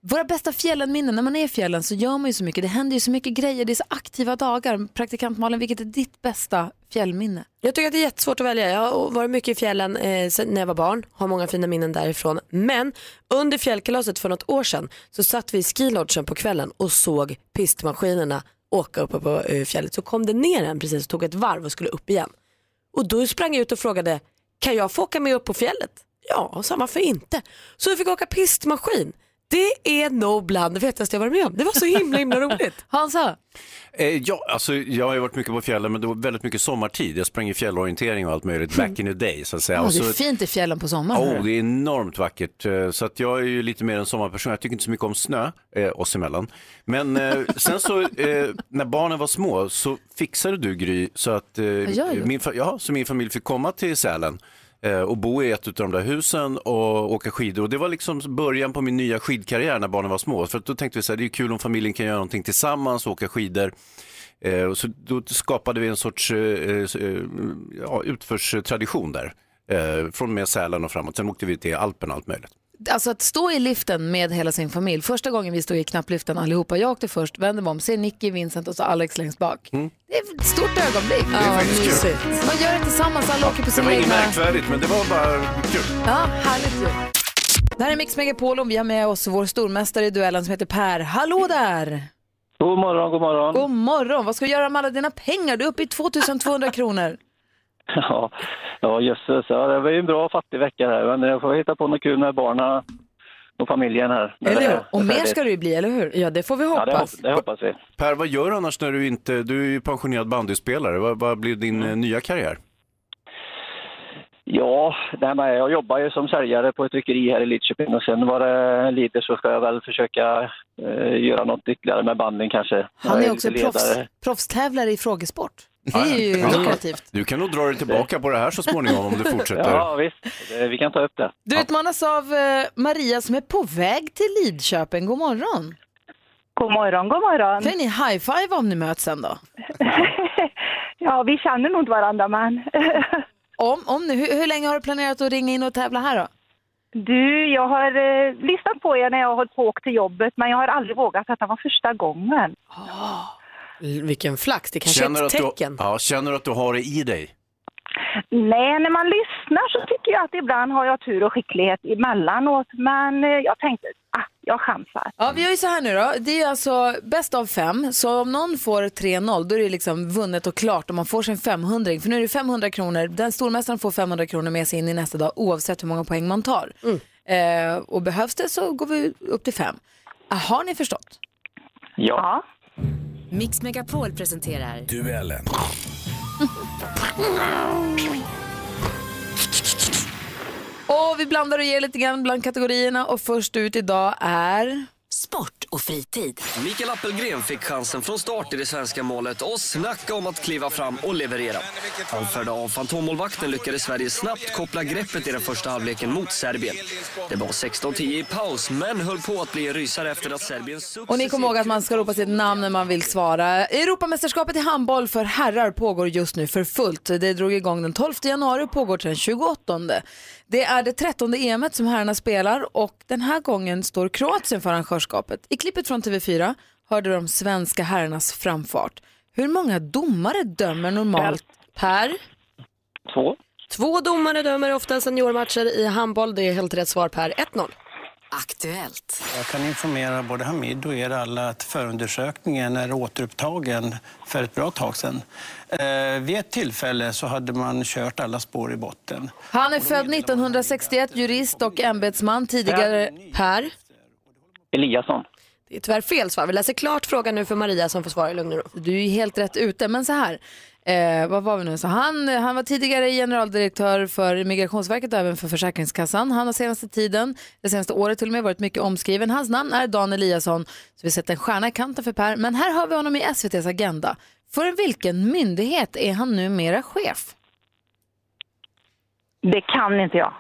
Våra bästa fjällenminnen, när man är i fjällen så gör man ju så mycket. Det händer ju så mycket grejer, det är så aktiva dagar. Praktikant Malin, vilket är ditt bästa fjällminne?
Jag tycker att det är jättesvårt att välja. Jag har varit mycket i fjällen eh, sen när jag var barn, har många fina minnen därifrån. Men under fjällkalaset för något år sedan så satt vi i skilodgen på kvällen och såg pistmaskinerna åka uppe på eh, fjället. Så kom det ner en precis och tog ett varv och skulle upp igen. Och då sprang jag ut och frågade, kan jag få åka med upp på fjället? Ja, sa han, varför inte? Så vi fick åka pistmaskin. Det är nog bland det fetaste jag varit med om. Det var så himla himla roligt.
Hansa?
Eh, ja, alltså, jag har ju varit mycket på fjällen, men det var väldigt mycket sommartid. Jag sprang i fjällorientering och allt möjligt back
Mm.
in the day, så att säga.
Åh,
Och
det är
så-
fint i fjällen på sommaren.
Oh, det är enormt vackert. Eh, Så att jag är ju lite mer en sommarperson. Jag tycker inte så mycket om snö eh, oss emellan. Men eh, sen så eh, när barnen var små så fixade du Gry så att eh,
jag gjorde?
min, fa- ja, så min familj fick komma till Sälen eh, och bo i ett av de där husen och åka skidor. Och det var liksom början på min nya skidkarriär när barnen var små. För att då tänkte vi så här, det är ju kul om familjen kan göra någonting tillsammans och åka skidor. Eh, och så då skapade vi en sorts eh, eh, ja, utförstradition där. Eh, från och med Sälen och framåt. Sen åkte vi till Alpen och allt möjligt.
Alltså att stå i liften med hela sin familj. Första gången vi stod i knappliften allihopa, jag åkte först, vände mig om, ser Nicky, Vincent och så Alex längst bak. Det är ett stort ögonblick.
Mm. är faktiskt kul.
Man gör det tillsammans, alla åker på
Det var
sina
inget
egna...
märkvärdigt men det var bara kul.
Ja, härligt ju. Det här är Mix Megapol och vi har med oss vår stormästare i duellen som heter Per. Hallå där!
God morgon, god morgon.
God morgon! Vad ska du göra med alla dina pengar? Du är uppe i 2200 kronor.
Ja, ja jösses. Ja, det var ju en bra fattig vecka här. Men jag får hitta på något kul med barnen och familjen här.
Eller
Det
hur?
är
Och mer
färdigt.
ska det ju bli, eller hur? Ja, det får vi
Ja, det,
hoppas.
hop- det hoppas vi.
Per, vad gör du annars när du inte, du är ju pensionerad bandyspelare, vad, vad blir din
Mm.
eh, nya karriär?
Ja, nej, men jag jobbar ju som säljare på ett tryckeri här i Lidköping och sen var det lider så ska jag väl försöka eh, göra något ytterligare med banden kanske.
Han
Jag
är också
lite
proffs,
ledare.
proffstävlare i frågesport. Det är ju
Ja, ja.
lukrativt.
Du kan nog dra dig tillbaka på det här så småningom om du fortsätter.
Ja, visst. Det- Vi kan ta upp det.
Du utmanas av eh, Maria som är på väg till Lidköping. God morgon!
God morgon, god morgon!
Kan ni high-five om ni möts sen då?
Ja, vi känner nog inte varandra, men...
om, om nu, hur, hur länge har du planerat att ringa in och tävla här då?
Du, jag har eh, lyssnat på er när jag har hållit på och åkt till jobbet, men jag har aldrig vågat. Detta var första gången.
Ah.
Vilken flax, det kanske är ett
att
tecken.
Du, ja, känner du att du har det i dig?
Nej, när man lyssnar så tycker jag att ibland har jag tur och skicklighet emellanåt, men eh, jag tänkte, ah, jag chansar.
Ja, vi gör ju så här nu då. Det är alltså bäst av fem, så om någon får 3-0 då är det liksom vunnet och klart och man får sin 500 För nu är det 500 kronor, den stormästaren får 500 kronor med sig in i nästa dag oavsett hur många poäng man tar. Eh, och behövs det så går vi upp till fem. Ah, Har ni förstått?
Ja.
Mix Megapol presenterar...
Duellen.
Och vi blandar och ger lite grann bland kategorierna och först ut idag är...
Sport och fritid.
Mikael Appelgren fick chansen från start i det svenska målet och snacka om att kliva fram och leverera. Avförda av fantommålvakten lyckades Sverige snabbt koppla greppet i den första halvleken mot Serbien. Det var 16-10 i paus, men höll på att bli en rysare efter att Serbien successivt...
Och ni kommer ihåg att man ska ropa sitt namn när man vill svara. Europamästerskapet i handboll för herrar pågår just nu för fullt. Det drog igång den 12 januari och pågår till den 28. Det är det 13 EMet som herrarna spelar och den här gången står Kroatien för arrangörskapet. I klippet från TV4 hörde de svenska herrarnas framfart. Hur många domare dömer normalt per?
Två.
Två domare dömer ofta seniormatcher i handboll. Det är helt rätt svar Per. 1-0.
Aktuellt.
Jag kan informera både Hamid och er alla att förundersökningen är återupptagen för ett bra tag sedan. Eh, vid ett tillfälle så hade man kört alla spår i botten.
Han är född 1961, jurist och ämbetsman tidigare. Per?
Eliasson.
Det är tyvärr fel svar. Vi läser klart frågan nu för Maria som får svara i lugn och ro.
Du är ju helt rätt ute, men så här. Eh, vad var vi nu? Så han, han var tidigare generaldirektör för Migrationsverket och även för Försäkringskassan. Han har senaste tiden, det senaste året till och med, varit mycket omskriven. Hans namn är Dan Eliasson, så vi sätter en stjärna i kanten för Per. Men här hör vi honom i SVTs Agenda. För vilken myndighet är han numera chef?
Det kan inte jag.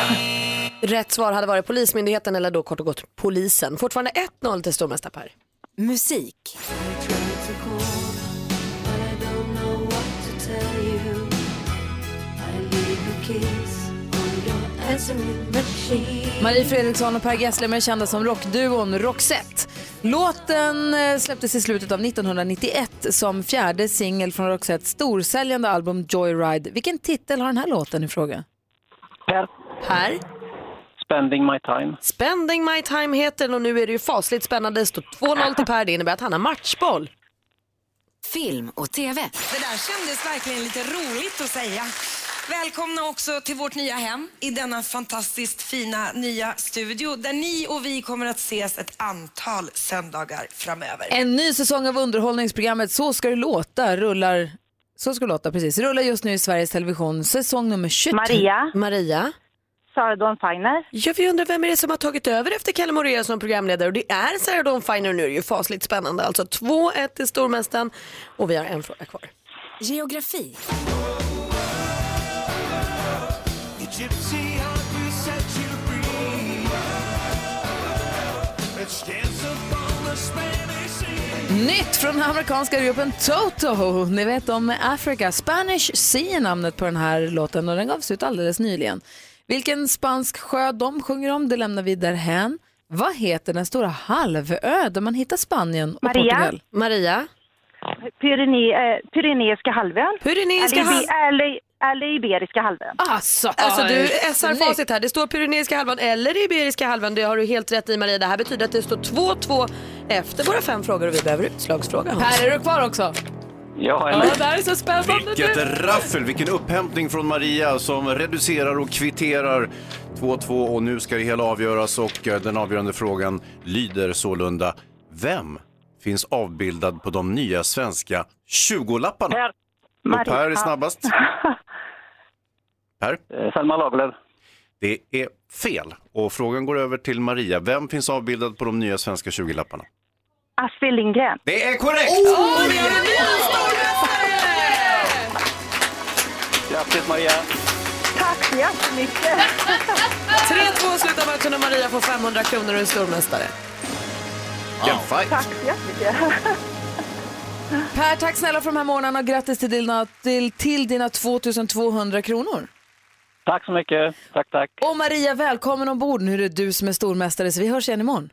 Rätt svar hade varit Polismyndigheten eller då kort och gott polisen. Fortfarande 1-0 till stormästare Per.
Musik.
I leave a kiss on your
Marie Fredriksson och Per Gessle är kända som rockduon Roxette. Låten eh, släpptes i slutet av 1991 som fjärde singel från Roxettes storsäljande album Joyride. Vilken titel har den här låten i fråga?
Per.
Per?
Spending my time.
Spending my time heter den och nu är det ju fasligt spännande. Det står 2-0 till Per, det innebär att han har matchboll.
Film och TV.
Det där kändes verkligen lite roligt att säga. Välkomna också till vårt nya hem i denna fantastiskt fina nya studio där ni och vi kommer att ses ett antal söndagar framöver.
En ny säsong av underhållningsprogrammet Så ska det låta rullar så ska det låta, precis. Rullar just nu i Sveriges Television, säsong nummer 23.
Maria.
Maria.
Sara Dawn Finer.
Ja, vi undrar vem är det som har tagit över efter Kalle Moraeus som programledare och det är Sarah Dawn Finer nu. Det är ju fasligt spännande. Alltså 2-1 till stormästaren och vi har en fråga kvar.
Geografi.
Nytt från den amerikanska gruppen Toto. Ni vet om Africa. Spanish Sea är namnet på den här låten och den gavs ut alldeles nyligen. Vilken spansk sjö de sjunger om, det lämnar vi därhän. Vad heter den stora halvö där man hittar Spanien och
Maria.
Portugal? Maria.
Pyrené, eh, Pyreneiska halvön.
Pyreneiska
halvön. Eller, eller Iberiska halvön.
Alltså,
Alltså du
aj,
SR facit här. Det står Pyreneiska halvön eller Iberiska halvön. Det har du helt rätt i Maria. Det här betyder att det står 2-2 efter våra fem frågor och vi behöver utslagsfråga. Hans.
Per, är du kvar också?
Ja,
Ja, det här är så spännande
Vilket
nu.
raffel, vilken upphämtning från Maria som reducerar och kvitterar 2-2 och nu ska det hela avgöras och eh, den avgörande frågan lyder sålunda Vem finns avbildad på de nya svenska 20-lapparna?
Per.
Och Per är snabbast.
Eh,
Per? Selma Lagerlöf. Det är fel och frågan går över till Maria. Vem finns avbildad på de nya svenska 20-lapparna?
Astrid Lindgren.
Det är korrekt!
Grattis Maria!
Tack så jättemycket.
3-2 slutar matchen och Maria får 500 kronor och är stormästare.
Vilken fight!
Tack så jättemycket.
Per, tack snälla för de här morgnarna och grattis till dina, till, till dina 2200 kronor.
Tack så mycket. Tack, tack.
Och Maria, välkommen ombord. Nu är det du som är stormästare, så vi hörs igen imorgon.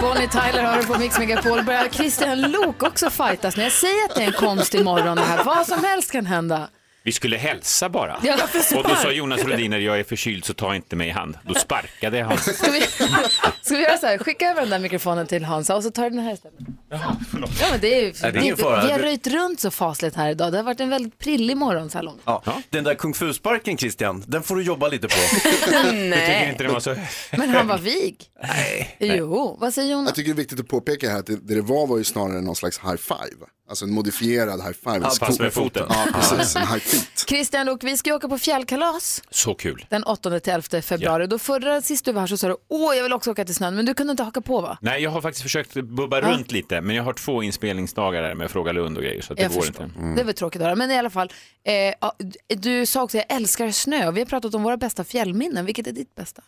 Bonnie Tyler har du på Mix Megapol. Börjar Christian Lok också fightas nu? Jag säger att det är en konst imorgon det här. Vad som helst kan hända.
Vi skulle hälsa bara.
Ja,
och då sa
spark.
Jonas Rhodiner, jag är förkyld så ta inte mig i hand. Då sparkade han.
Ska vi göra så här? Skicka över den där mikrofonen till Hansa och så tar du den här istället. Ja, men det är ju...
Nej, det är ingen fara.
Vi har röjt runt så fasligt här idag. Det har varit en väldigt prillig morgon så här långt.
Ja. Den där kung fu-sparken Christian, den får du jobba lite på.
Jag tycker inte
den var så...
Men han var vig. Nej. Jo, vad säger Jonas?
Jag tycker det är viktigt att påpeka här att det, det det var var ju snarare någon slags high five. Alltså en modifierad high five.
Ja, fast med foten.
Ja, precis.
Ja.
En high feet.
Christian Lok, vi ska ju åka på fjällkalas.
Så kul.
den 8-11 februari. Då förra sist du var här så sa du åh jag vill också åka till snön men du kunde inte haka på va?
Nej, jag har faktiskt försökt bubba
Ja.
runt lite, men jag har två inspelningsdagar där med Fråga Lund och grejer, så att det
Jag
går
förstår.
inte. Mm.
Det var tråkigt att höra. Men i alla fall, eh, ja, du- du sa också jag älskar snö. Vi har pratat om våra bästa fjällminnen. Vilket är ditt bästa?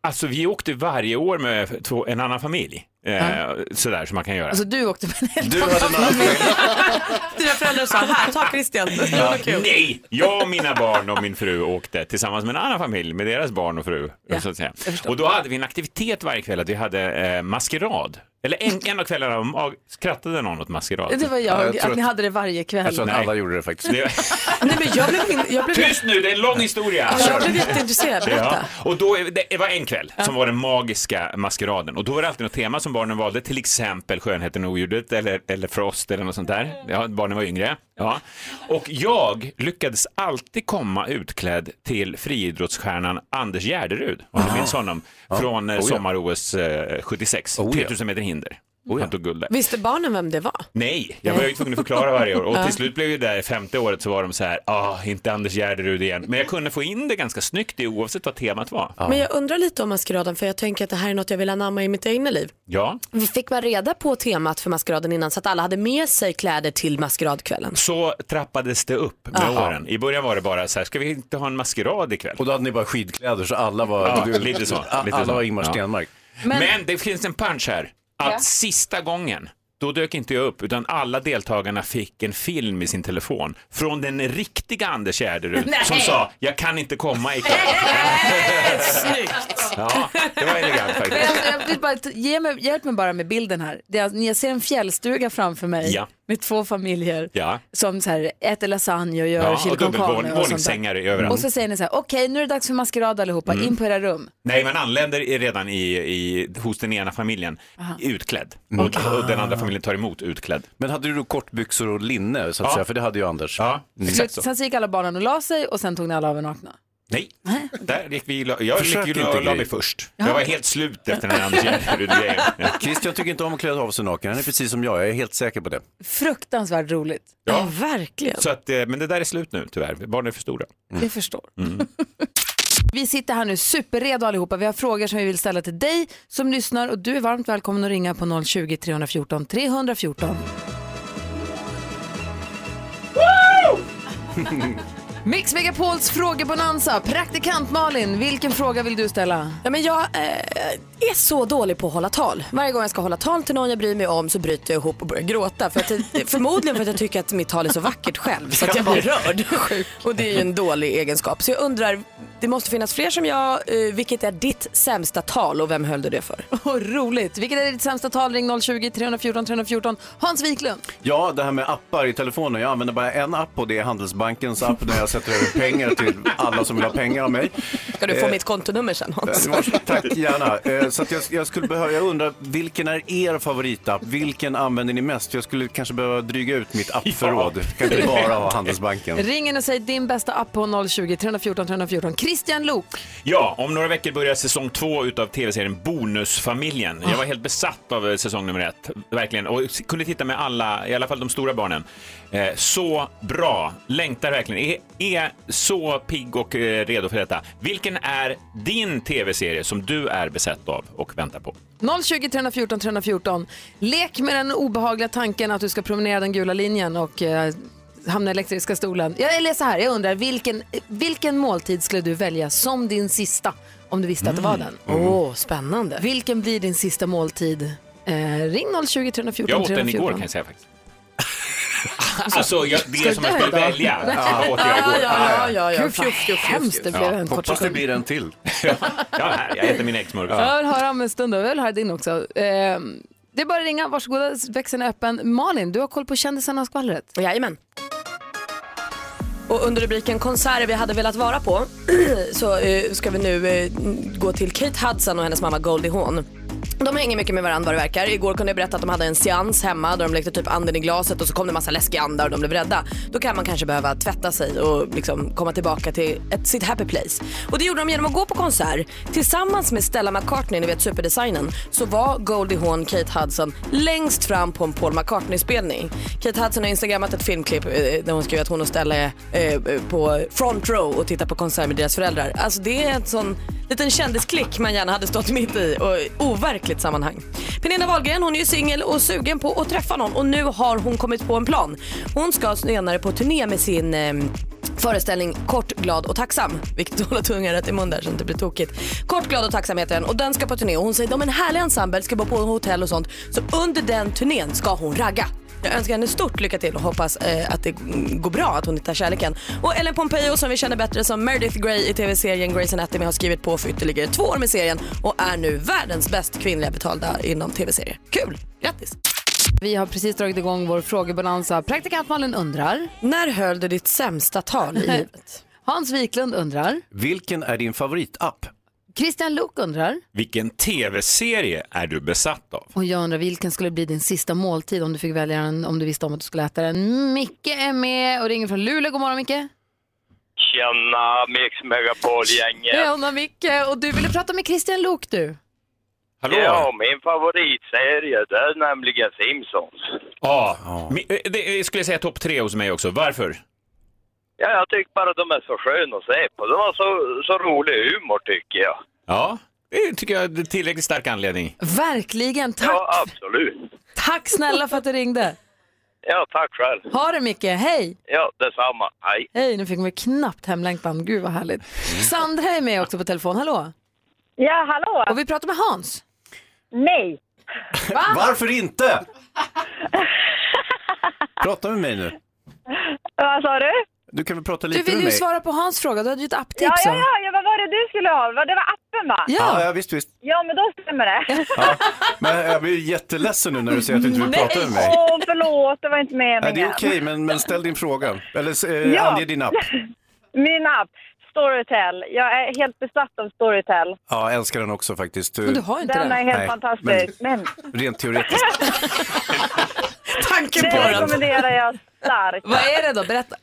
Alltså, vi åkte varje år med två, en annan familj, eh, sådär som man kan göra.
Alltså du åkte med en helt
Du hade en annan
Dina föräldrar sa här, ta Christian.
Ja, nej, jag och mina barn och min fru åkte tillsammans med en annan familj med deras barn och fru. så att säga. Och då hade vi en aktivitet varje kväll att vi hade eh, maskerad. Eller en, en av kvällarna ah, skrattade någon åt maskerad.
Det var jag, att ni hade det varje kväll.
gjorde det faktiskt.
Nej, men jag blev min, jag blev
Tyst nu, det är en lång historia.
Ja, jag blev jätteintresserad. Berätta.
Och då, det var en kväll som var den magiska maskeraden och då var det alltid något tema som barnen valde, till exempel Skönheten och odjuret eller, eller Frost eller något sånt där. Ja, barnen var yngre. Ja. Och jag lyckades alltid komma utklädd till friidrottsstjärnan Anders Gärderud, om ni minns honom, från eh,
Oh ja. Oh
sommar-OS eh, 76, 3000 meter hinder. Han tog guld där.
Visste barnen vem det var?
Nej, jag var ju tvungen att förklara varje år och
Ja.
till slut blev ju det där femte året så var de så här, ah, inte Anders Gärderud igen. Men jag kunde få in det ganska snyggt i oavsett vad temat var.
Men jag undrar lite om maskeraden för jag tänker att det här är något jag vill anamma i mitt egna liv.
Ja.
Vi fick bara reda på temat för maskeraden innan så att alla hade med sig kläder till maskeradkvällen.
Så trappades det upp med
Aha.
åren. I början var det bara så här, ska vi inte ha en maskerad ikväll? Och då hade ni bara skidkläder så alla var... Ja, lite så. Lite
Alla
så.
var Ingemar Stenmark.
Men... Men det finns en punch här. Att
Ja.
sista gången Då dök inte jag upp, utan alla deltagarna fick en film i sin telefon från den riktiga Anders Gärderud
Nej.
som sa “Jag kan inte komma ikväll”.
Snyggt!
Ja, det var elegant
Men
faktiskt.
alltså, jag vill bara, t- ge mig, hjälp mig bara med bilden här. Det är, alltså- jag ser en fjällstuga framför mig
Ja.
med två familjer
Ja.
som så här, äter lasagne och gör
Ja, och
chili con carne
dubbelvåning-
och sånt
våningssängar
där.
överallt.
Och så säger ni så här, okej nu är det dags för maskerad allihopa,
Mm.
in på era rum.
Nej, man anländer i- redan i, i, hos den ena familjen
Aha. Ah.
utklädd och, och den andra familjen tar emot utklädd.
Men hade du då kortbyxor och linne så att
Ja.
säga? För det hade ju Anders. Mm.
Ja,
Så, sen så gick alla barnen och la sig och sen tog ni alla av er nakna.
Nej, där gick vi, jag gick
Försök
ju
inte,
och la
Gry.
mig först.
Ja.
Jag var helt slut efter den här Anders Gärderud-grejen. Ja.
Christer, jag tycker inte om att klä av sig naken. Han är precis som jag, jag är helt säker på det.
Fruktansvärt roligt.
Ja.
verkligen.
Så att, eh, men det där är slut nu tyvärr, barnen är för stora.
Jag förstår.
Mm.
Vi sitter här nu superredo allihopa. Vi har frågor som vi vill ställa till dig som lyssnar och du är varmt välkommen att ringa på 020-314 314. Mix Megapols frågebonanza. Praktikant Malin, vilken fråga vill du ställa?
Ja, men jag eh, är så dålig på att hålla tal. Varje gång jag ska hålla tal till någon jag bryr mig om så bryter jag ihop och börjar gråta. För att, jag- förmodligen för att jag tycker att mitt tal är så vackert själv så att jag blir rörd. Och det är ju en dålig egenskap. Så jag undrar, det måste finnas fler som jag. Eh, vilket är ditt sämsta tal och vem höll du det för?
Oh, roligt. Vilket är ditt sämsta tal? Ring 020-314 314. Hans Wiklund.
Ja, det här med appar i telefonen. Jag använder bara en app och det är Handelsbankens app när jag sätter över pengar till alla som vill ha pengar av mig.
Ska du få
Eh,
mitt kontonummer sen Hans?
Eh, Tack gärna. Eh, Så att jag, jag skulle behöva, jag undrar, vilken är er favoritapp? Vilken använder ni mest? För jag skulle kanske behöva dryga ut mitt appförråd.
Ja.
Kan inte bara ha Handelsbanken.
Ring in och säg din bästa app på 020-314 314. Christian Lok.
Ja, om några veckor börjar säsong två utav tv-serien Bonusfamiljen. Jag var helt besatt av eh, säsong nummer ett, verkligen. Och s- kunde titta med alla, i alla fall de stora barnen. Eh, så bra, längtar verkligen. Är, är så pigg och eh, redo för detta. Vilken är din tv-serie som du är besatt av och väntar på?
020 314 314. Lek med den obehagliga tanken att du ska promenera den gula linjen och eh, hamna i elektriska stolen. Ja, eller så här, jag undrar, vilken, vilken måltid skulle du välja som din sista om du visste att det var
Mm.
den?
Åh, oh, spännande.
Vilken blir din sista måltid? Eh, ring 020 314
Jag åt den
314.
igår kan jag säga faktiskt. Alltså, jag, det är som jag
Ska du
skulle
dö idag?
välja. Ja, åt jag igår.
Gud, vad hemskt det blev en kort
Hoppas det
sekund.
blir en till.
Ja, här, jag äter min äggsmörgås.
Jag vill höra om en stund, då. jag vill höra din också. Eh, det är bara att ringa, varsågoda, växeln är öppen. Malin, du har koll på kändisarna och skvallret?
Jajamän. Och under rubriken konserter vi hade velat vara på så eh, ska vi nu eh, gå till Kate Hudson och hennes mamma Goldie Hawn. De hänger mycket med varandra vad det verkar. Igår kunde jag berätta att de hade en seans hemma där de lekte typ anden i glaset och så kom det en massa läskiga andar och de blev rädda. Då kan man kanske behöva tvätta sig och liksom komma tillbaka till ett, sitt happy place. Och det gjorde de genom att gå på konsert. Tillsammans med Stella McCartney, ni vet superdesignen, så var Goldie Hawn, Kate Hudson längst fram på en Paul McCartney-spelning. Kate Hudson har instagrammat ett filmklipp eh, där hon skriver att hon och Stella är eh, på front row och tittar på konsert med deras föräldrar. Alltså det är en sån liten kändisklick man gärna hade stått mitt i och overkligt sammanhang. Pernilla Wahlgren hon är ju singel och sugen på att träffa någon och nu har hon kommit på en plan. Hon ska senare på turné med sin eh, Föreställning Kort, glad och tacksam. Vilket hålla tungan rätt i mun där så det inte blir tokigt. Kort, glad och tacksam heter den och den ska på turné och hon säger de är en härlig ensemble, ska bo på hotell och sånt. Så under den turnén ska hon ragga. Jag önskar henne stort lycka till och hoppas eh, att det mm, går bra, att hon hittar kärleken. Och Ellen Pompeo som vi känner bättre som Meredith Grey i tv-serien Grey's Anatomy har skrivit på för ytterligare två år med serien och är nu världens bäst kvinnliga betalda inom tv-serier. Kul! Grattis!
Vi har precis dragit igång vår frågebonanza. Praktikant Malin undrar.
När höll du ditt sämsta tal i livet?
Hans Wiklund undrar.
Vilken är din favoritapp?
Christian Luuk undrar.
Vilken tv-serie är du besatt av?
Och jag undrar vilken skulle bli din sista måltid om du fick välja den, om du visste om att du skulle äta den. Micke är med och ringer från Luleå. God morgon Micke.
Tjena Mix
Hej
Megapol-gänget!
Anna Micke. Och du ville prata med Christian Luuk du.
Hallå?
Ja, min favoritserie det är nämligen Simpsons.
Ja, mi- eh, det eh, skulle jag säga topp tre hos mig också. Varför?
Ja, jag tycker bara de är så sköna att se på. De har så, så rolig humor tycker jag.
Ja, det tycker jag är tillräckligt stark anledning.
Verkligen. Tack,
Ja, absolut.
tack snälla för att du ringde.
Ja, tack själv.
Ha det Micke. Hej.
Ja, detsamma. Hej.
Hej, nu fick man ju knappt hemlängtan. Gud vad härligt. Sandra är med också på telefon. Hallå.
Ja, hallå.
Och vi pratar med Hans.
Nej.
Varför inte? Prata med mig nu.
Vad sa du?
Du kan väl prata
Du
lite
ville
med
ju
mig?
svara på Hans fråga, du hade ju ett apptips.
Ja, ja,
va?
ja, ja, vad var det du skulle ha? Vad- Det var appen va?
Ja, ja, visst, visst.
Ja, men då stämmer det.
Men jag blir jätteledsen nu när du säger att du inte vill prata med mig.
Åh, förlåt, det var inte meningen.
Nej, det är okej, men, men ställ din fråga. Eller eh,
Ja.
ange din app.
Min app, Storytel. Jag är helt besatt av Storytel.
Ja, jag älskar den också faktiskt.
den. är helt
Nej,
fantastisk. Men,
Men rent teoretiskt.
det rekommenderar jag starkt.
Vad är det då? Berätta.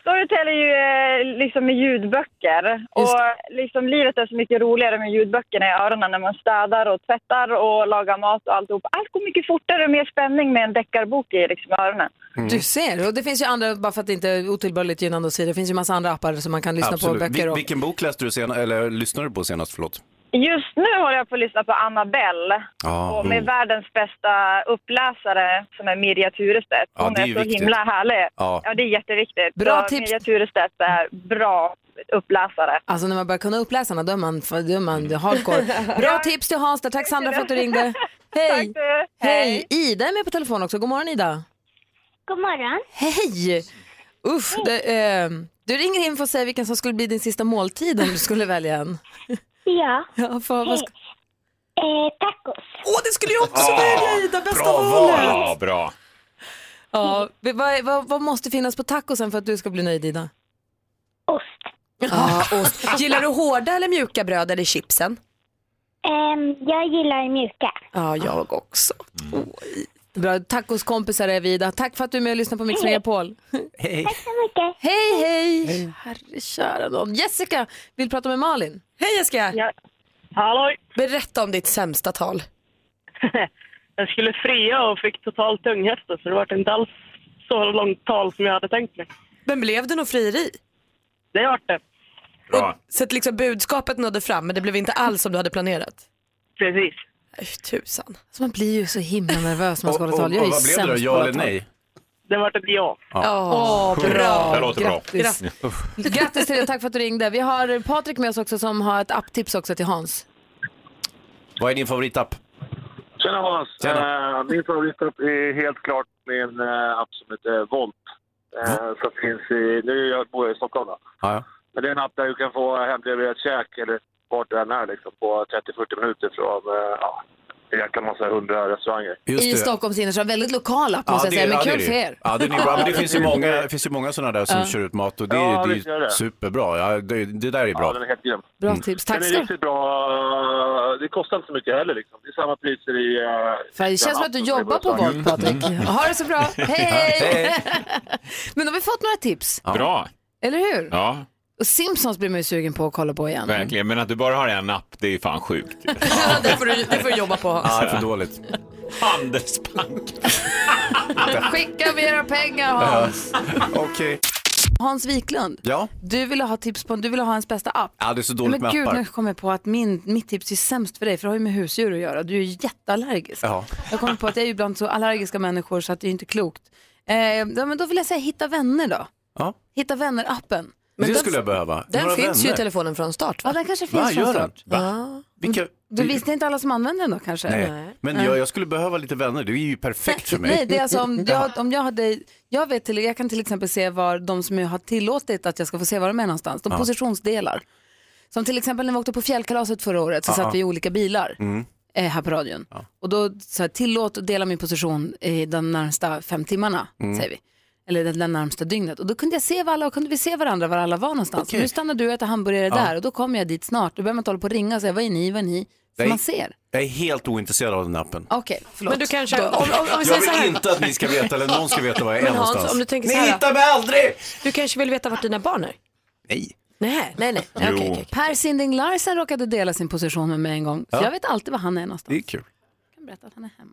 Storytel är ju eh, liksom med ljudböcker. Och liksom livet är så mycket roligare med ljudböckerna i öronen när man städar och tvättar och lagar mat och alltihop. Allt går mycket fortare och mer spänning med en deckarbok i liksom, öronen.
Du ser, och det finns ju andra, bara för att det inte är otillbörligt gynnande att säga, det finns ju massa andra appar som man kan lyssna
Absolut.
på böcker
Vil-
och...
vilken bok läste du senast, eller lyssnade du på senast? Förlåt.
Just nu håller jag på att lyssna på Annabelle.
Ja,
och med
oh.
världens bästa uppläsare som är Mirja Turestedt.
Ja,
Hon
det är
är,
ju
så
viktigt.
himla härlig.
Ja.
det är jätteviktigt.
Bra
så
tips.
Mirja Turestedt är bra uppläsare.
Alltså när man börjar kunna uppläsarna, då är man, då är man
Mm.
hardcore. Bra tips till Hans där. Tack Sandra för att du ringde. Hej! Hej! Ida är med på telefon också. God morgon Ida.
God morgon.
Hej! Uff, det, ehm, du ringer in för att säga vilken som skulle bli din sista måltid om du skulle välja en.
Ja. Eh,
ja för, vad ska...
tacos.
Åh, det skulle jag också
Ah,
välja Ida! Bästa
Bra val!
valet!
Ja, bra.
Ja, vi- vad, vad, vad måste finnas på tacosen för att du ska bli nöjd Ida?
Ja, ost. Gillar du hårda eller mjuka bröd eller chipsen?
Ehm, jag gillar mjuka.
Ja, jag också.
Mm.
Bra, tacoskompisar är vi Ida. Tack för att du är med och lyssnar på Mix
Hej.
Megapol.
Hej.
Tack så mycket.
Hej, hej! Herre kära nån. Jessica vill prata med Malin.
Hej Jessica!
Ja. Hallå!
Berätta om ditt sämsta tal.
Jag skulle fria och fick total tunghäfta så det var inte alls så långt tal som jag hade tänkt mig.
Men blev det något frieri?
Det vart det.
Och, så att liksom budskapet nådde fram men det blev inte alls som du hade planerat? Äh,
Precis.
Tusan.
Så Alltså, man blir ju så himla nervös när man ska
Och,
hålla
och, och
tal. Jag är ju
vad blev det då?
sämst på att
Ja eller
hålla tal.
nej?
Det vart ett ja.
Åh, bra.
Det låter
Grattis.
bra.
Grattis till dig och tack för att du ringde. Vi har Patrik med oss också som har ett apptips också till Hans.
Vad är din favoritapp?
Tjena Hans! Eh, min favoritapp är helt klart min eh, app som heter Volt. Eh, som finns i, nu jag bor jag i Stockholm då.
Ja, ja.
Men det är en app där du kan få hemlevererat käk eller vart du än är liksom, på 30-40 minuter från eh, ja, en jäkla massa hundra restauranger.
I Stockholms innerstad. Väldigt lokal app
Ja,
måste
det-
jag säga, men
ja, det är
kul
det.
för er.
Ja, det, är bra. Men det finns ju många, det finns ju många sådana där som
Ja.
kör ut mat och det
Ja,
är, ju-
visst
det
gör
är
det.
ju superbra. Ja, det, det där är bra.
Ja, den är helt grym.
Bra tips. Tack
Den
ska
är
du-
riktigt bra. eh, Det kostar inte så mycket heller liksom. Det är samma priser i... eh,
Fan, det känns
den
som att du
appen som är
jobbar på
restauranger.
Volt, Patrik. Ha det så bra. Hej! Men då har vi fått några tips,
Bra.
eller hur?
Ja,
Och Simpsons blir man ju sugen på att kolla på igen.
verkligen. Men att du bara har en app, det är fan sjukt.
det, får du, det får du jobba på Hans.
Ja, det är för
dåligt.
Handelsbank.
Skicka vi era pengar Hans.
Okej.
Hans Wiklund,
Ja.
du ville ha tips på, du ville ha hans bästa app.
ja, det är så dåligt
Men
med
gud, nu
appar.
kom jag på att min, mitt tips är sämst för dig, för det har ju med husdjur att göra. Du är ju jätteallergisk.
Ja.
Jag kommer på att jag är ju ibland så allergiska människor så att det är ju inte klokt. Eh, ja, men då vill jag säga hitta vänner då.
Ja.
Hitta vänner-appen.
Men det skulle jag behöva.
den
Några
finns ju i
vänner.
telefonen från start. Va? Ja, den kanske finns
Va,
från
gör den?
start.
Va?
Ja.
Vilka...
Du visste inte alla som använder den då kanske?
Nej. Men jag, jag skulle behöva lite vänner. Det är ju perfekt för mig.
Nej, det är alltså om jag, om jag hade, jag, vet till, jag kan till exempel se var de som jag har tillåtit att jag ska få se var de är någonstans, de
Ja.
positionsdelar. Som till exempel när vi åkte på fjällkalaset förra året så
Ja.
satt vi i olika bilar
Mm.
eh, här på radion. Och då så här, tillåt att dela min position i de närmsta fem timmarna,
Mm.
säger vi. Eller det det närmsta dygnet. Och då kunde jag se var alla, och kunde vi se varandra var alla var någonstans.
Okej.
Nu stannar du och äter hamburgare
Ja.
där och då kommer jag dit snart. Då behöver man inte hålla på och ringa och säga, var är ni, var är ni? För
Nej.
man ser.
Jag är helt ointresserad av den appen.
Okej, förlåt.
Men du kanske-
Då-
om- om- om vi
Jag vill inte att ni ska veta eller någon ska veta var jag är
Men Hans,
någonstans.
om du tänker så
Ni
här.
hittar mig aldrig!
Du kanske vill veta vart dina barn är?
Nej.
Nej, nej, nej.
Jo.
Okej, okej.
Per Sinding Larsen råkade dela sin position med mig en gång. Så
Ja.
jag vet alltid var han är någonstans.
Det är kul.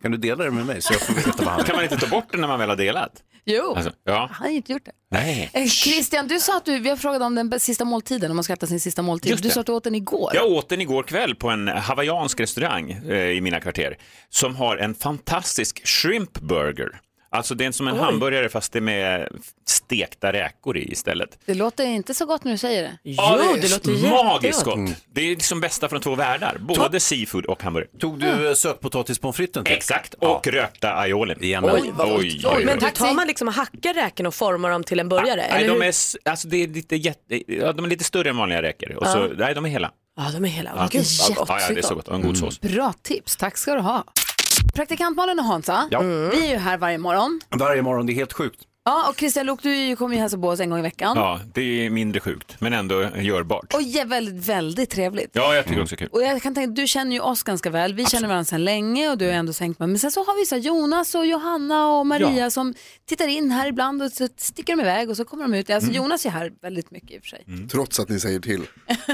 Kan du dela det med mig så jag får veta vad han är?
Kan man inte ta bort den när man väl har delat?
Jo,
Alltså, ja.
han har ju inte gjort det.
Nej.
Eh, Christian, du sa att du, jag frågade om den bä- sista måltiden, om man ska äta sin sista måltid.
Just
Du
det.
sa att du åt den igår.
Jag åt den igår kväll på en hawaiiansk restaurang eh, i mina kvarter som har en fantastisk shrimp burger. Alltså det är som en
Oj.
hamburgare fast det är med stekta räkor i istället.
Det låter inte så gott när du säger det.
Ja, är Magiskt gott.
Mm.
Det är liksom bästa från två världar. Både seafood och hamburgare.
Tog du eh, sötpotatispomfritesen till?
Exakt, och rökta aioli.
Oj, vad gott.
Men då tar man liksom och hackar räkorna och formar dem till en burgare?
Nej,
eller
de
hur?
är, s- alltså det är lite jätte, ja, de är lite större än vanliga räkor. Och så,
Ja.
nej, de är hela.
Ja, de är hela.
Ja,
Gud, vad
ja,
gott.
ja, det är så gott. Och en god
Mm.
sås.
Bra tips, tack ska du ha. Praktikant Malin och Hansa,
Ja.
Mm.
vi är ju här varje morgon.
Varje morgon, det är helt sjukt.
Ja, och Christian Luuk, du kommer ju hälsa på oss en gång i veckan.
Ja, det är mindre sjukt, men ändå görbart.
Och ja, väldigt, väldigt trevligt.
Ja, jag tycker också det är kul.
Och jag kan tänka, du känner ju oss ganska väl, vi känner varandra sedan länge och du är ändå sänkt med. Men sen så har vi så här Jonas och Johanna och Maria
Ja.
som tittar in här ibland och så sticker de iväg och så kommer de ut. Alltså
Mm.
Jonas är här väldigt mycket i och för sig.
Mm.
Trots att ni säger till.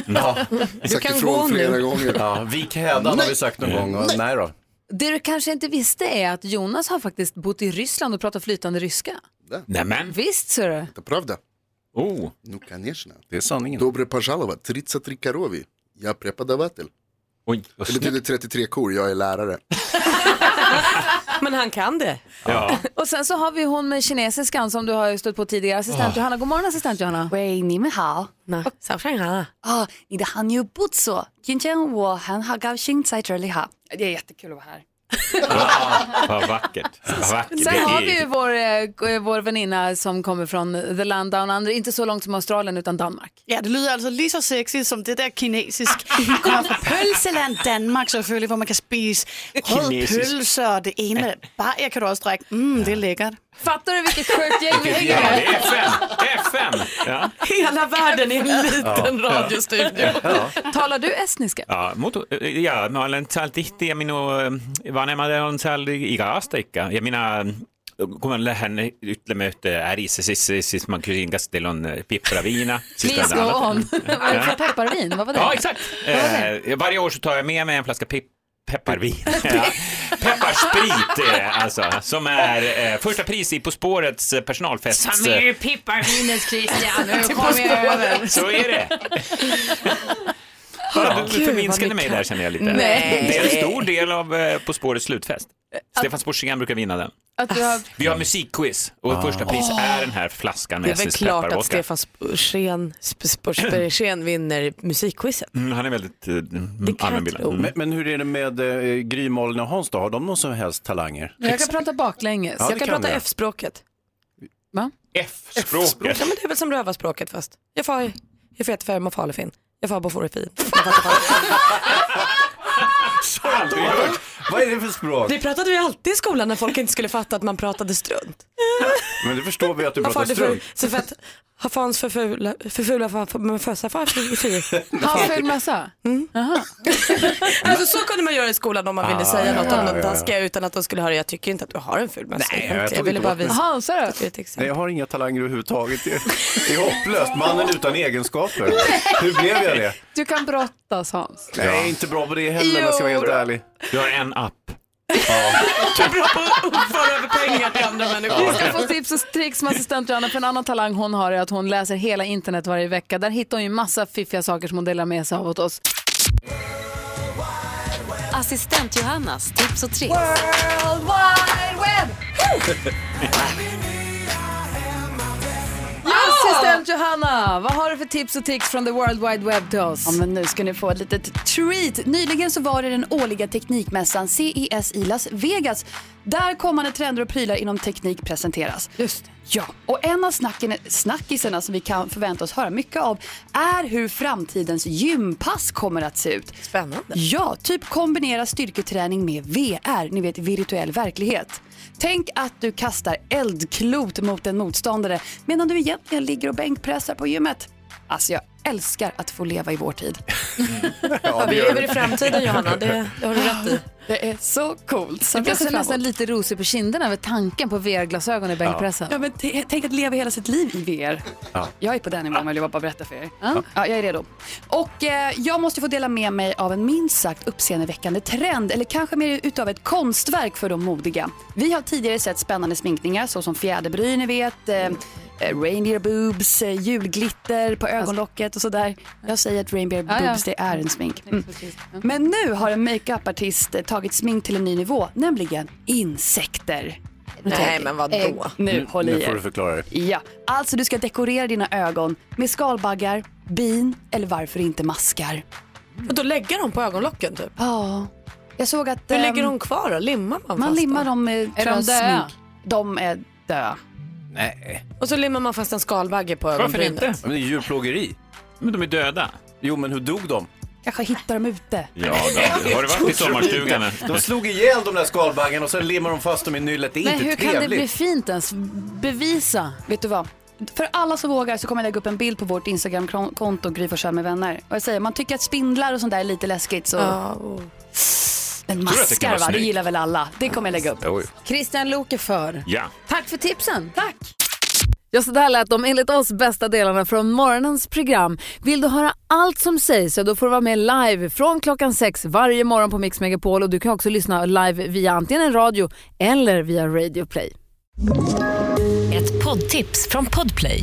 Ja.
Du Sagt kan ifrån gå nu. flera gånger.
Ja, vik hädan har vi sagt någon gång. Och, nej då.
Det du kanske inte visste är att Jonas har faktiskt bott i Ryssland och pratar flytande ryska.
Nämen.
Visst ser du.
Это правда?
Oh.
Ну, конечно.
Det är sanningen.
Добре пожаловать, 33 корови. Я преподаватель.
Oj,
det betyder 33 kor, jag är lärare.
Men han kan det.
Ja.
Och sen så har vi hon med kinesiskan som du har stött på tidigare, assistent
Ah.
Johanna. God morgon assistent Johanna.
Wei, ni men hao. Na, sao shang ha. Ah, ni de han ju bot så. Jin jian wo han ha gao xing zai zhe li ha. Det är jättekul att vara här.
Vad vackert. Vad vackert.
Sen
Det
har
är-
vi ju vår, eh, vår väninna som kommer från the land down under, inte så långt som Australien utan Danmark.
Ja, det lyder
alltså
altså lige så sexy som det der kinesisk. Vi kommer fra pølseland Danmark selvfølgelig, hvor man kan spise rød
Kinesisk.
pølse og det ene med bajer kan du også drikke. Mm, det er lækkert.
Fattar du vilket sjukt gäng vi hänger
Ja, det
med?
är FN. FN. Ja.
Hela världen i en
liten Ja. radiostudio. Ja.
Talar du estniska?
Ja, mutu, ja mä olen täällä tihti ja minun äh, vanhemmat on täällä ikäasta ikka. Ja minä, äh, kun mä lähden ytlemme yhteen ärissä, siis, siis, siis mä kysyin, kas teillä on äh, pipparaviina. Siis
Please
täältä
go
alla-
on. Vad är det för pepparvin? Vad var det?
Ja, exakt. Eh, varje år så tar jag med mig en flaska pip pepparvin. Ja. Pepparsprit eh, alltså, som är eh, första pris i På spårets eh, personalfest.
pipparvinet Christian,
nu kommer jag över.
Så är det. Ja, du förminskade mig där känner jag lite.
Nej.
Det är en stor del av eh, På spårets slutfest. Stefan Sporsén brukar vinna den.
Att du har...
Vi har musikquiz och första pris
Åh.
är den här flaskan
Ah. Det
med
är väl
Esses
klart att
pepparvodka.
Stefan Sporsén Sp- Sporsén vinner musikquizet.
Mm, han är väldigt eh,
jag
allmänbildad.
tro.
Mm.
Men, men hur är det med eh, Gry, Malin och Hans då? Har de någon som helst talanger?
Men Jag kan prata baklänges.
Ja, det
jag kan
kan
prata
du.
F-språket.
F-språket.
Ja, men det är väl som rövarspråket fast. Jag får, jag får jättefärg, man faller fin. Jag får bara får fin.
Aldrig hört. Vad är det för språk?
Det pratade vi alltid i skolan när folk inte skulle fatta att man pratade strunt.
Men det förstår vi att du
Man
pratar
farde för,
strunt.
så för att ha fans för fula, för fula fan, för, men fösa fan för fyr.
Har ful mössa? Jaha.
Alltså så kunde man göra i skolan om man ville
Ah,
säga
ja,
något om
ja,
de
ja, ja.
taskiga utan att de skulle höra, jag tycker inte att du har en ful mössa.
Nej, jag
egentligen.
tog
ville
inte
bara
bort den.
visa.
Jaha,
sa
Nej, jag har inga talanger överhuvudtaget. Det är, det är hopplöst. Mannen utan egenskaper. Hur blev jag det?
Du kan brottas Hans.
Nej, jag är inte bra på det heller om jag ska vara helt
Jo.
ärlig.
Du har en app.
Du är bra på att föra över pengar till andra människor.
Vi ska få tips och tricks med assistent Johanna för en annan talang hon har är att hon läser hela internet varje vecka. Där hittar hon ju massa fiffiga saker som hon delar med sig av åt oss.
Assistent Johannas tips och tricks.
World Wide Web! Assistent Johanna, vad har du för tips och tricks från the World Wide Web till oss?
Ja, men nu ska ni få ett litet treat. Nyligen så var det den årliga teknikmässan CES i Las Vegas där kommande trender och prylar inom teknik presenteras. Just Ja, och en av snacken, snackisarna som vi kan förvänta oss höra mycket av är hur framtidens gympass kommer att se ut. Spännande. Ja, typ kombinera styrketräning med VR, ni vet virtuell verklighet. Tänk att du kastar eldklot mot en motståndare medan du egentligen ligger och bänkpressar på gymmet. Alltså jag älskar att få leva i vår tid.
Ja, vi lever i framtiden Johanna, det, det har du rätt i.
Det är så coolt. Så
Jag blev
jag ser
så
fram
nästan
emot.
lite rosig på kinderna över tanken på VR-glasögon i bänkpressen.
Ja, men t- tänk att leva hela sitt liv i VR.
Ja.
Jag är på den nivån vill jag bara berätta för er. Ja. jag är redo. Och eh, jag måste få dela med mig av en minst sagt uppseendeväckande trend, eller kanske mer utav ett konstverk för de modiga. Vi har tidigare sett spännande sminkningar såsom fjäderbryn, ni vet, eh, eh, reindeer boobs, eh, julglitter på ögonlocket och sådär. Jag säger att reindeer
Ja,
boobs,
ja.
det är en smink. Mm. Men nu har en makeupartist eh, tagit smink till en ny nivå, nämligen insekter.
Nej,
Okej.
men vadå?
Eh, nu, håll i
Nu får du
er.
förklara dig.
Ja, alltså du ska dekorera dina ögon med skalbaggar, bin eller varför inte maskar.
Och då lägger de på ögonlocken typ?
Ja. Jag såg att...
Hur
ehm,
lägger de kvar då? Limmar man
Man
fast
limmar
dem?
dem med
Är de döda?
smink. De är döda.
Nej.
Och så limmar man fast en skalbagge på ögonbrynet.
Men det är djurplågeri.
Men de är döda.
Jo, men hur dog de?
Kanske hittar dem ute.
Ja, då. har du varit i sommarstugan?
De slog ihjäl de där skalbaggarna och sen limmar de fast dem i nyllet. Det är
Men
inte
hur
trevligt.
kan det bli fint ens?
Bevisa. Vet du vad? För alla som vågar så kommer jag lägga upp en bild på vårt Instagramkonto, Gry Forssell med vänner. Och jag säger, man tycker att spindlar och sånt där är lite läskigt så...
Ja, oh.
Men
Tror du att det kan
maskar
vara
va, det
snyggt?
gillar väl alla. Det kommer jag lägga upp.
Christian Loke för.
Ja.
Tack för tipsen. Tack. Ja, så där lät de enligt oss bästa delarna från morgonens program. Vill du höra allt som sägs så då får du vara med live från klockan sex varje morgon på Mix Megapol och du kan också lyssna live via antingen en radio eller via Radio Play.
Ett poddtips från Podplay.